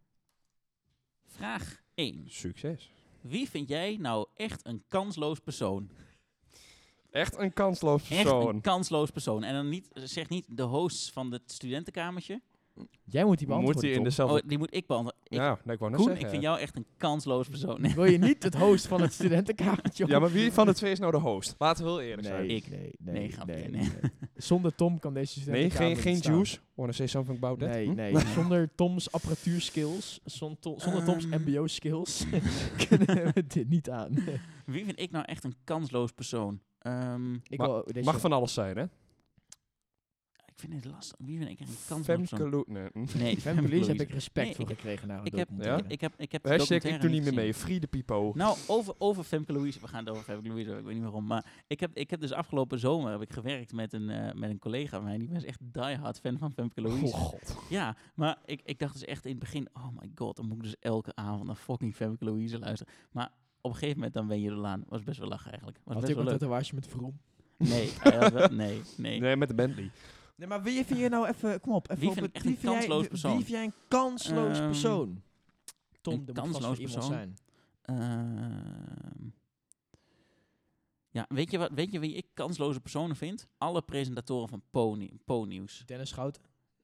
S1: Vraag 1.
S3: Succes.
S1: Wie vind jij nou echt een kansloos persoon?
S3: Echt een kansloos
S1: Echt
S3: persoon.
S1: een kansloos persoon. En dan niet, zeg niet de host van het studentenkamertje.
S2: Jij moet die
S3: Moet
S2: beantwoorden,
S3: hij in
S2: Tom.
S1: Oh,
S3: dezelfde...
S1: die moet ik beantwoorden. Ik,
S3: ja, nee, ik wou net
S1: Koen,
S3: zeggen.
S1: ik vind jou echt een kansloos persoon. Nee,
S2: *laughs* Wil je niet het host van het studentenkamertje?
S3: Ja, maar wie van de twee is nou de host? Laten we heel eerlijk zijn.
S1: Ik.
S2: nee,
S1: Nee, grapje, nee.
S2: *laughs* Zonder Tom kan deze
S3: Nee,
S2: studentenkamer
S3: geen,
S2: niet
S3: geen
S2: staan.
S3: juice. Wanna say something about that?
S2: Nee,
S3: Hm?
S2: nee. Zonder Toms apparatuurskills, zon- to- zonder Toms
S1: Ehm.
S2: *laughs* mbo-skills, kunnen we dit niet aan.
S1: *laughs* Wie vind ik nou echt een kansloos persoon? Ehm,
S2: Ik
S3: Maar
S2: wil deze
S3: Mag van alles zijn, hè?
S1: ik vind het lastig. Wie vind ik echt een kansloos
S3: Femke
S1: persoon?
S3: Lou- nee, hm.
S1: Nee,
S2: Femke Louise heb
S1: Louise.
S2: ik respect
S1: Nee,
S2: voor
S1: ik heb-
S2: gekregen. Nou,
S1: Ik heb,
S3: Ja?
S1: ik heb, ik heb de
S3: *laughs* Hashtag ik
S1: documentaire
S3: doe niet meer
S1: gezien.
S3: mee. Free the people.
S1: Nou, over, over Femke Louise. We gaan het over Femke Louise hebben, ik weet niet waarom. Maar ik heb, ik heb dus afgelopen zomer heb ik gewerkt met een, eh, met een collega van mij. Die was echt diehard fan van Femke Louise.
S3: god.
S1: Ja, maar ik, ik dacht dus echt in het begin... Oh my god, dan moet ik dus elke avond naar fucking Femke Louise luisteren. Maar op een gegeven moment dan ben je er aan. Was best wel lachen eigenlijk. Was
S2: Had
S1: best
S2: ik
S1: wel
S2: een
S1: leuk.
S2: tatoeage met Vroom.
S1: Nee, hij had wel- nee, nee.
S3: Nee, met de Bentley.
S2: Nee, maar wie vind je nou even... Kom op, even
S1: Wie
S2: op
S1: vind
S2: het-
S1: ik echt een
S2: vind jij-
S1: kansloos
S2: wie-
S1: persoon?
S2: Wie vind jij een kansloos
S1: Ehm,
S2: persoon? Tom,
S1: een
S2: er moet vast wel
S1: kansloos
S2: iemand
S1: persoon?
S2: zijn.
S1: Ehm. ja, weet je, wat, weet je wie ik kansloze personen vind? Alle presentatoren van Po-nie- Po-nieuws.
S2: Dennis Schouten?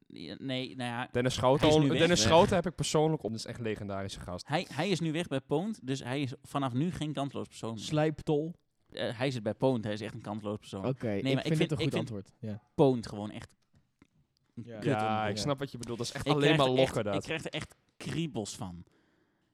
S1: Ja, Nee, nou ja,
S3: Dennis
S1: Hij is nu
S3: Schouten,
S1: weg.
S3: Dennis
S1: Weg.
S3: Schouten heb ik persoonlijk op. Dat is echt een legendarische gast.
S1: Hij, hij is nu weg bij Poont, dus hij is vanaf nu geen kansloos persoon. meer.
S2: Slijptol? Oké,
S1: Eh, hij zit bij Poont, hij is echt een kansloos persoon.
S2: ik,
S1: maar ik
S2: vind
S1: vind-
S2: dit een
S1: ik
S2: goed
S1: vind-
S2: antwoord. Ja.
S1: Poont gewoon echt. een
S2: Ja.
S1: kut
S3: Ja,
S1: omroep.
S3: ik snap wat je bedoelt. Dat is echt
S1: Ik
S3: alleen
S1: krijg
S3: maar
S1: er echt-
S3: lokken
S1: Ik
S3: dat.
S1: krijg er echt kriebels van.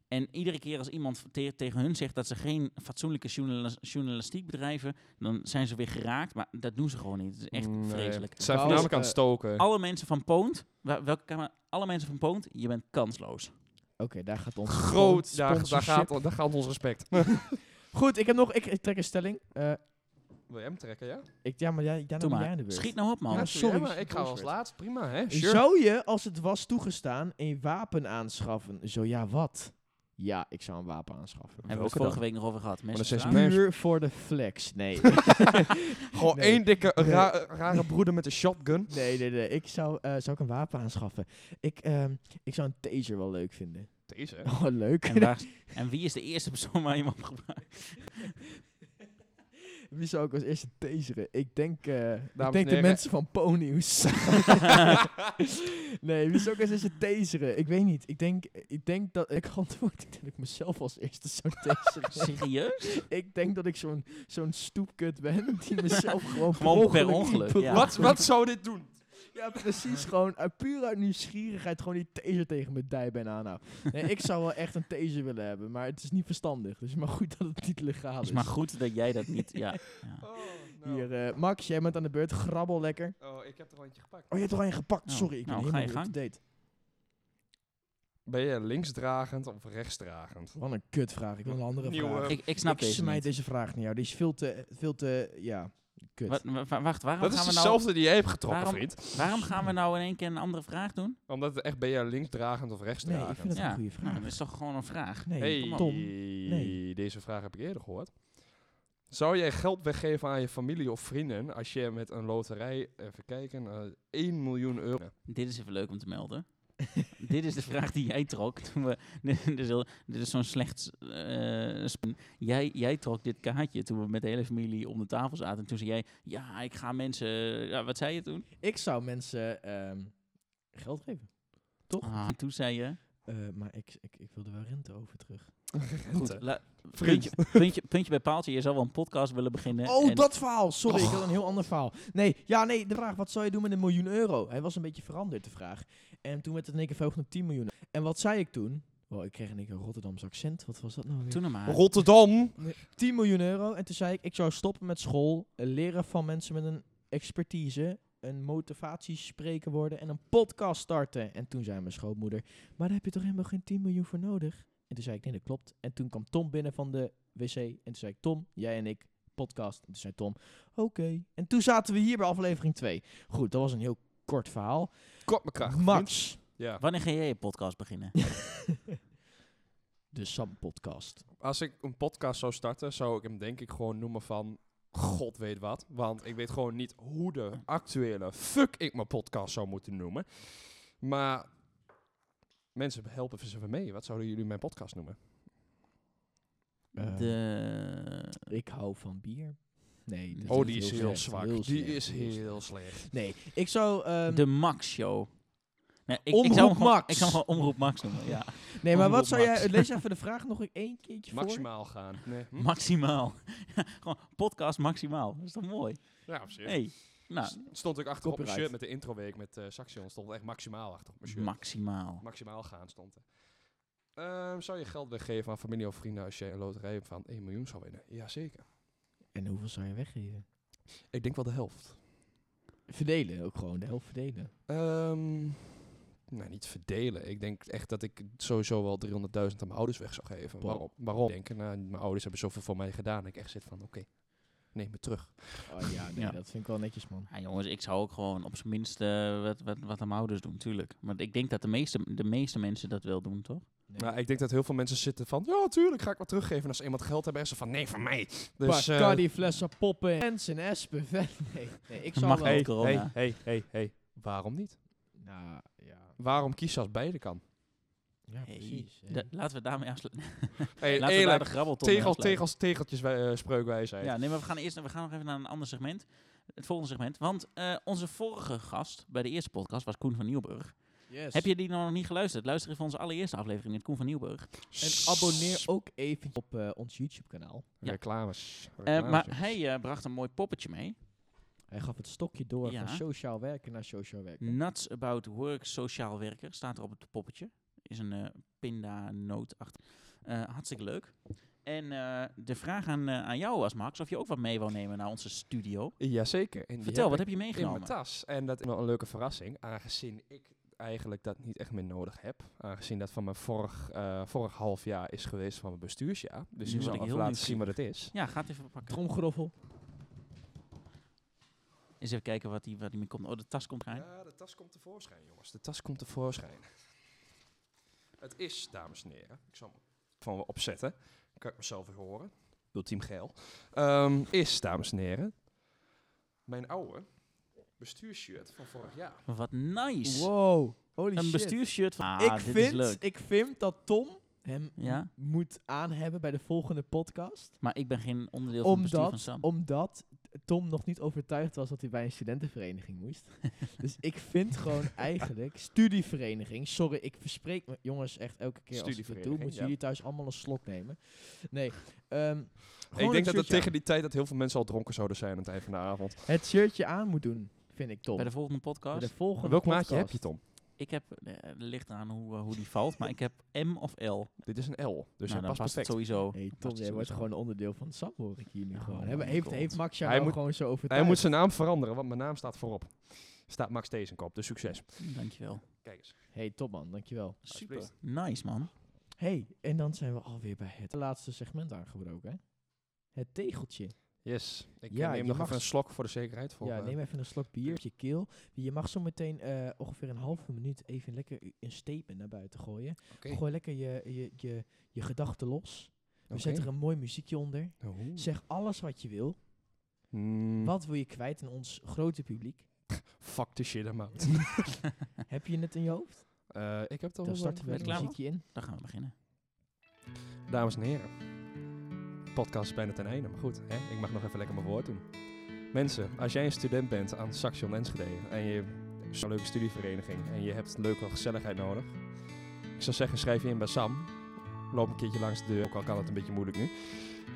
S1: En iedere keer als iemand te- tegen hun zegt dat ze geen fatsoenlijke journalis- journalistiek bedrijven, dan zijn ze weer geraakt. Maar dat doen ze gewoon niet. Het is echt
S3: Nee.
S1: vreselijk.
S3: Ze zijn
S2: Wou-
S3: voornamelijk aan het
S2: eh,
S3: stoken.
S1: Alle mensen van Poont, wa- welke camera, alle mensen van Poont, je bent kansloos.
S2: Oké, daar gaat ons
S3: Groot, daar, daar,
S2: sponsorship.
S3: gaat, daar gaat ons respect.
S2: Goed, ik heb nog... Ik, ik trek een stelling. Eh,
S3: Wil je hem trekken, ja?
S2: ik, ja, maar jij, daarna
S1: Doe
S2: ben jij aan de
S1: maar,
S2: beurt.
S1: schiet nou op man.
S2: Ja, sorry,
S3: maar ik ga als
S2: Booswerd.
S3: laatst. Prima, hè? Sure. *laughs*
S2: Zou je, als het was toegestaan, een wapen aanschaffen? Zo ja, wat? Ja, ik zou een wapen aanschaffen.
S1: Hebben we het
S3: Welke
S1: vorige
S3: dan?
S1: week nog over gehad. Mes
S3: dat zijn
S1: op
S3: ze
S1: straat.
S3: mensen.
S2: Puur voor de flex. Nee.
S3: *laughs* Gewoon
S2: Nee.
S3: één dikke
S2: Nee.
S3: ra- rare broeder met een shotgun.
S2: nee, nee, nee. Ik zou, eh, zou ik een wapen aanschaffen? Ik, ehm, ik zou een taser wel leuk vinden.
S3: Deze.
S2: *laughs* Oh, leuk.
S1: en, waar- en wie is de eerste persoon waar je hem op gebruikt?
S2: *laughs* Wie zou ik als eerste taseren? Ik denk, eh, ik
S3: en
S2: denk de
S3: heren.
S2: mensen van Ponyus. *laughs* nee, wie zou ik als eerste taseren? Ik weet niet. Ik denk, ik denk dat ik *laughs* antwoord dat ik mezelf als eerste zou
S1: *laughs*
S2: taseren.
S1: Serieus?
S2: Ik denk dat ik zo'n
S1: *laughs*
S2: zo'n stoepkut ben die mezelf gewoon,
S1: Gewoon per
S2: ongeluk *laughs*
S1: ongeluk,
S2: per
S1: ja.
S3: Wat, wat zou dit doen?
S2: Ja, precies. Gewoon uit, puur uit nieuwsgierigheid gewoon die taser tegen mijn dijbeen aan. Nou, nee, ik zou wel echt een taser willen hebben, maar het is niet verstandig. Dus maar goed dat het niet legaal
S1: Het
S2: is.
S1: is maar goed dat jij dat niet... *laughs* Ja, ja.
S3: Oh,
S2: Hier, eh, Max, jij bent aan de beurt. Grabbel lekker.
S3: oh, ik heb er al eentje gepakt.
S2: Oh, je hebt er al een gepakt.
S1: Nou,
S2: Sorry, ik ben
S1: nou, ga je
S2: helemaal niet up-to-date.
S3: Ben je linksdragend of rechtsdragend?
S2: Wat een kutvraag. Ik wil een andere
S3: Nieuwe-
S2: vraag.
S1: Ik, ik snap
S2: ik
S1: deze
S2: smijt
S1: niet.
S2: deze vraag naar jou. Die is veel te, veel te ja, kut.
S1: Wa- wa- wa- wacht, waarom
S3: Dat is dus
S1: gaan, we
S3: dezelfde
S1: nou,
S3: die jij hebt getrokken,
S1: waarom-
S3: vriend.
S1: waarom gaan we nou in één keer een andere vraag doen?
S3: Omdat het echt ben je linksdragend
S2: Nee,
S3: of
S2: ik
S3: rechtsdragend?
S2: vind het
S1: Ja.
S2: een goede
S1: Nou,
S2: vraag.
S1: dat is toch gewoon een vraag?
S2: Nee,
S3: Hey,
S1: kom op.
S2: Tom.
S3: Nee. Deze vraag heb ik eerder gehoord. Zou jij geld weggeven aan je familie of vrienden als je met een loterij, even kijken, eh 1 miljoen euro...
S1: Dit is even leuk om te melden. *laughs* dit is de vraag die jij trok toen we... *laughs* dit is, heel- dit is zo'n slecht... eh, sp- jij, jij trok dit kaartje toen we met de hele familie om de tafel zaten. En toen zei jij, ja, ik ga mensen... Ja, wat zei je toen?
S2: Ik zou mensen ehm, geld geven. Toch?
S1: Ah, toen zei je...
S2: Eh, maar ik, ik, ik wilde wel rente over terug.
S1: Goed, la-
S3: Vriend.
S1: puntje, puntje, puntje bij paaltje. Je zou wel een podcast willen beginnen.
S2: Oh,
S1: en-
S2: dat verhaal. Sorry, ik had een heel ander verhaal. Nee, ja, nee, de vraag, wat zou je doen met een miljoen euro? Hij was een beetje veranderd, de vraag. En toen werd het in één keer verhoogd naar 10 miljoen. En wat zei ik toen? Wow, ik kreeg in één keer een Rotterdams accent. Wat was dat nou weer?
S1: Toen nog maar.
S3: Rotterdam!
S2: 10 miljoen euro. En toen zei ik, ik zou stoppen met school, eh, leren van mensen met een expertise, een motivatiespreker worden en een podcast starten. En toen zei mijn schoonmoeder, maar daar heb je toch helemaal geen 10 miljoen voor nodig? En toen zei ik, nee, dat klopt. En toen kwam Tom binnen van de wc en toen zei ik, Tom, jij en ik, podcast. En toen zei Tom, oké. En toen zaten we hier bij aflevering 2. Goed, dat was een heel kort verhaal.
S3: Kort me kracht.
S2: Max,
S3: Ja.
S1: Wanneer ga jij je podcast beginnen?
S2: de Sam-podcast.
S3: Als ik een podcast zou starten, zou ik hem denk ik gewoon noemen van... God weet wat. Want ik weet gewoon niet hoe de actuele fuck ik mijn podcast zou moeten noemen. Maar mensen, helpen eens even mee. Wat zouden jullie mijn podcast noemen?
S2: Eh,
S1: De...
S2: Ik hou van bier. Nee, dat
S3: Oh, die is
S2: slecht.
S3: heel zwak. die
S2: slecht,
S3: is
S2: heel
S3: heel slecht.
S2: Nee, ik zou... ehm,
S1: De Max Show. Nee, ik, ik
S2: Omroep
S1: zou hem gewoon,
S2: Max.
S1: Ik zou hem gewoon Omroep Max noemen, ja.
S2: nee, maar wat
S1: Omroep
S2: zou jij...
S1: Max.
S2: Lees even de vraag nog één keertje voor.
S3: Maximaal gaan. Nee. Hm?
S1: Maximaal. *laughs* gewoon podcast maximaal. Dat is toch mooi?
S3: Ja, op zich.
S1: Hey. Nou,
S3: S- Stond ik achter op mijn
S2: Copyright.
S3: shirt met de introweek met eh Saxion. Stond echt maximaal achter op mijn shirt.
S1: maximaal.
S3: maximaal gaan stond er. Ehm, zou je geld weggeven aan familie of vrienden als je een loterij van 1 miljoen zou winnen? Jazeker.
S2: En hoeveel zou je weggeven?
S3: Ik denk wel de helft.
S2: Verdelen, ook gewoon. De helft verdelen.
S3: Ehm, nou, niet verdelen. Ik denk echt dat ik sowieso wel 300.000 aan mijn ouders weg zou geven.
S2: Wow.
S3: Waarom? Waarom? Denken, nou, mijn ouders hebben zoveel voor mij gedaan. Dat ik echt zit van, oké, neem me terug.
S2: Oh ja, nee,
S1: Ja.
S2: dat vind ik wel netjes, man.
S1: Ja, jongens, ik zou ook gewoon op zijn minst eh, wat, wat, wat aan mijn ouders doen, tuurlijk. Want ik denk dat de meeste, de meeste mensen dat wel doen, toch?
S2: Nee.
S3: Nou, ik denk dat heel veel mensen zitten van, ja, tuurlijk ga ik wat teruggeven. En als iemand geld hebben, is ze van, nee, van mij. Dus, eh,
S2: Bacardi, flessen, poppen, Hens en Espen. *laughs* vet. Nee, nee, ik zou
S1: Mag
S2: wel...
S1: Hey,
S3: hey,
S1: hey, corona.
S3: hey, hey, hey. Waarom niet?
S2: Nou, ja.
S3: Waarom kiezen als beide kan?
S2: Ja,
S1: Hey,
S2: precies. hè.
S1: Da- laten we daarmee afsluiten.
S3: Hey,
S1: Laten we daar de grabbelton mee
S3: tegel,
S1: afsluiten.
S3: tegels, tegeltjes wij, eh, spreukwijsheid.
S1: Ja, nee, maar we gaan eerst we gaan nog even naar een ander segment. Het volgende segment. Want eh, onze vorige gast bij de eerste podcast was Koen van Nieuwburg.
S2: Yes.
S1: Heb je die nog niet geluisterd? Luister even onze allereerste aflevering met Koen van Nieuwburg.
S2: En abonneer ook even op eh, ons YouTube-kanaal.
S1: Ja.
S3: Reclames.
S1: Eh,
S3: Reclames,
S1: maar
S3: ja.
S1: hij eh, bracht een mooi poppetje mee.
S2: Hij gaf het stokje door
S1: Ja.
S2: van sociaal werken naar sociaal werken.
S1: Nuts About Work Sociaal Werker staat er op het poppetje. Is een eh pindanoot achter. Eh, hartstikke leuk. En eh, de vraag aan, eh, aan jou was, Max, of je ook wat mee wou nemen naar onze studio.
S3: Jazeker. En die
S1: Vertel, wat
S3: ik
S1: heb je
S3: in mijn
S1: meegenomen?
S3: tas. En dat is wel een leuke verrassing, aangezien ik eigenlijk dat niet echt meer nodig heb. Aangezien dat van mijn vorig, eh, vorig half jaar is geweest van mijn bestuursjaar. Dus
S1: Nu
S3: ik
S1: word
S3: zal
S1: ik
S3: even
S1: heel
S3: laten zien wat het is.
S1: Ja, gaat even pakken.
S2: Tromgeroffel.
S1: Eens even kijken wat die, wat die mee komt. Oh, de tas komt eraan.
S3: Ja, de tas komt tevoorschijn, jongens. De tas komt tevoorschijn. *laughs* Het is, dames en heren, ik zal hem van me opzetten. Kan ik mezelf weer horen. Ultiem geil. Ehm, is, dames en heren, mijn oude bestuursshirt van vorig jaar.
S1: Wat nice.
S2: Wow. Holy
S1: een
S2: shit.
S1: bestuursshirt van... Ah,
S2: ik,
S1: dit is
S2: vind,
S1: leuk.
S2: ik vind dat Tom hem
S1: Ja?
S2: m- moet aanhebben bij de volgende podcast.
S1: Maar ik ben geen onderdeel van het bestuur van
S2: Omdat,
S1: Sam.
S2: omdat Tom nog niet overtuigd was dat hij bij een studentenvereniging
S1: *laughs*
S2: moest. dus ik vind gewoon eigenlijk studievereniging. Sorry, ik verspreek me jongens echt elke keer als ik dit doe.
S3: Studievereniging,
S2: Moeten
S3: ja.
S2: jullie thuis allemaal een slok nemen? Nee. ehm,
S3: ik
S2: gewoon het
S3: denk dat het
S2: shirtje
S3: tegen die tijd dat heel veel mensen al dronken zouden zijn aan het eind van de avond.
S2: aan. het shirtje aan moet doen. Vind ik top.
S1: Bij de volgende podcast.
S2: Bij de volgende
S3: Welk maatje heb
S2: podcast.
S3: je, Tom?
S1: Ik heb, eh, ligt eraan hoe, eh, hoe die valt, maar ik heb M of L.
S3: Dit is een L, dus
S1: nou,
S3: hij
S1: dan
S3: past
S1: past het
S3: perfect.
S1: sowieso.
S2: Hey,
S1: Past
S2: Tom,
S1: het
S2: jij wordt
S1: sowieso.
S2: gewoon onderdeel van Sam, hoor ik hier nu
S1: Oh
S2: gewoon.
S1: my
S2: Hebben- heeft,
S1: God.
S2: heeft Max jou
S3: Hij
S2: nou
S3: moet-
S2: gewoon zo
S3: Hij
S2: overtuigd?
S3: moet zijn naam veranderen, want mijn naam staat voorop. Staat Max Tezenkop, dus succes.
S1: Dankjewel.
S3: Kijk eens.
S2: Hey, top man, dankjewel.
S1: Super. Nice, man.
S2: Hey, en dan zijn we alweer bij het laatste segment aangebroken, hè? Het tegeltje.
S3: Yes. Ik
S2: Ja,
S3: eh,
S2: je
S3: neem nog
S2: mag-
S3: even een slok voor de zekerheid. Voor,
S2: ja,
S3: eh,
S2: neem even een slok bier op je keel. Je mag zo meteen eh, ongeveer een halve minuut even lekker een statement naar buiten gooien.
S3: Oké.
S2: Gooi lekker je, je, je, je gedachten los. We
S3: Oké. Nou,
S2: zetten er een mooi muziekje onder.
S3: Oeh.
S2: Zeg alles wat je wil.
S3: Mm,
S2: Wat wil je kwijt aan ons grote publiek?
S3: Fuck the shit
S2: *laughs*
S3: I'm out.
S2: Heb je het in je hoofd?
S3: Eh, ik heb toch
S2: Dan starten we
S1: ben
S2: het
S1: je klaar, man?
S2: muziekje in.
S1: Dan gaan we beginnen.
S3: Dames en heren, de podcast is bijna ten einde, maar goed, hè? ik mag nog even lekker mijn woord doen. Mensen, als jij een student bent aan Saxion Enschede en je hebt zo'n leuke studievereniging en je hebt leuke gezelligheid nodig, ik zou zeggen schrijf je in bij Sam. Loop een keertje langs de deur, ook al kan het een beetje moeilijk nu.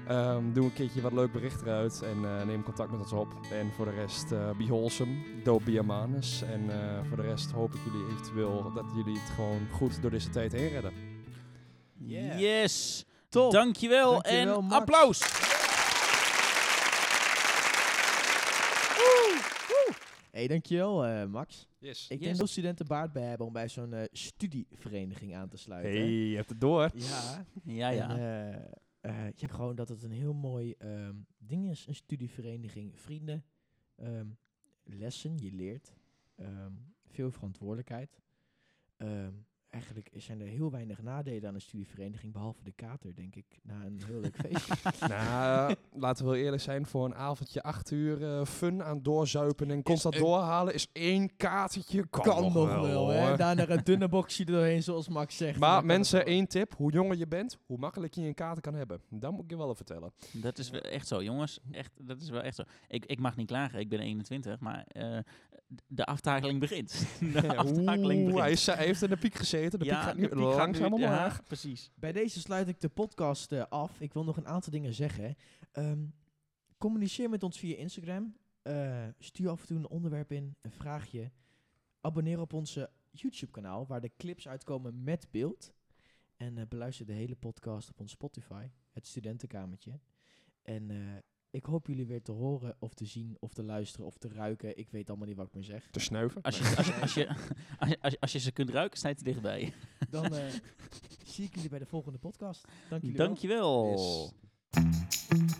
S3: Ehm, doe een keertje wat leuk bericht eruit en eh, neem contact met ons op. En voor de rest, eh, be wholesome, don't be a manus. En eh, voor de rest hoop ik jullie eventueel dat jullie het gewoon goed door deze tijd heen redden.
S2: Yeah.
S1: Yes!
S2: Top.
S1: Dankjewel,
S2: Dankjewel,
S1: en
S2: Max.
S1: applaus!
S2: Hey, dankjewel eh, Max.
S3: Yes.
S2: Ik
S1: Yes.
S2: denk dat studenten baat bij hebben om bij zo'n eh, studievereniging aan te sluiten.
S3: Hey, Ah, je hebt het door.
S2: Ja.
S1: Ja,
S2: En,
S1: ja.
S2: eh, eh, ja, gewoon dat het een heel mooi ehm, ding is. Een studievereniging, vrienden, ehm, lessen, je leert, ehm, veel verantwoordelijkheid. Ehm, eigenlijk zijn er heel weinig nadelen aan een studievereniging, behalve de kater, denk ik, na een heel
S3: *laughs*
S2: leuk feestje.
S3: nou, laten we wel eerlijk zijn. Voor een avondje acht uur eh, fun aan doorzuipen en constant
S2: een-
S3: doorhalen is één katertje. Kan, nog wel, hoor.
S2: Daarna een dunne boxje er doorheen, zoals Max zegt. Dan kan
S3: Maar
S2: het
S3: mensen,
S2: wel.
S3: één tip. Hoe jonger je bent, hoe makkelijk je een kater kan hebben. Dat moet ik je wel even vertellen.
S1: Dat is wel echt zo, jongens. Echt, dat is wel echt zo. Ik, ik mag niet klagen, ik ben 21, maar eh, d- de aftakeling begint. *laughs* De aftakeling
S3: *laughs* Oeh,
S1: begint.
S3: hij, is- hij heeft in de piek gezeten. De piek gaat nu
S1: de piek gaat
S3: langzaam
S1: nu- ja,
S3: omlaag.
S1: precies.
S2: Bij deze sluit ik de podcast eh, af. Ik wil nog een aantal dingen zeggen. Ehm, communiceer met ons via Instagram. Eh, stuur af en toe een onderwerp in, een vraagje. Abonneer op onze YouTube-kanaal, waar de clips uitkomen met beeld. En eh, beluister de hele podcast op ons Spotify, het studentenkamertje. En eh, ik hoop jullie weer te horen, of te zien, of te luisteren, of te ruiken. Ik weet allemaal niet wat ik meer zeg.
S3: Te snuiven.
S1: Als je, als, je, als, je, als, je, als, je, als je ze kunt ruiken, sta je te dichtbij.
S2: Dan eh, zie ik jullie bij de volgende podcast. Dank jullie wel.
S1: Dankjewel.
S3: Yes.